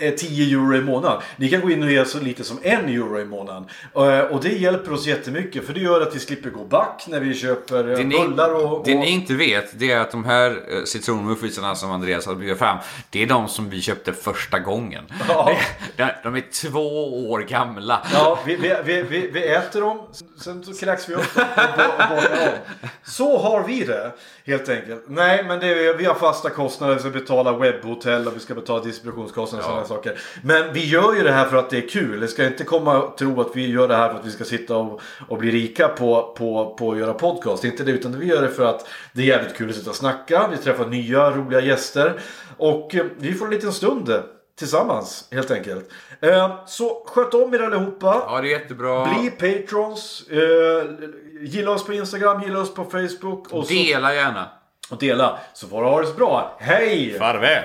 eh, eh, 10 euro i månaden. Ni kan gå in och ge oss så lite som 1 euro i månaden. Eh, Och det hjälper oss jättemycket för det gör att vi slipper gå back när vi köper eh, Det ni, bullar och... det och... ni inte vet det är att de här eh, citronmuffinsarna som Andreas har bjudit fram, det är de som vi köpte första gången. Ja. De, de är två år gamla. Ja, vi, vi, vi, vi, vi äter dem, sen så kräks vi upp dem och bo- bollar om. Så har vi det, helt enkelt. Nej, men det är, vi har fasta kostnader, vi ska betala webbhotell och vi ska betala distributionskostnader och sådana saker. Men vi gör ju det här för att det är kul. Det ska inte komma och tro att vi gör det här för att vi ska sitta och, och bli rika på, på, på att göra podcast. Det är inte det, utan vi gör det för att det är jävligt kul att sitta och snacka. Vi träffar nya roliga gäster och eh, vi får en liten stund eh, tillsammans helt enkelt. Eh, Så sköt om er allihopa. Ja, det är jättebra. Bli patrons. Eh, gilla oss på Instagram, gilla oss på Facebook. Och, så, Dela gärna. och dela. Så får du ha det så bra. Hej! Farväl!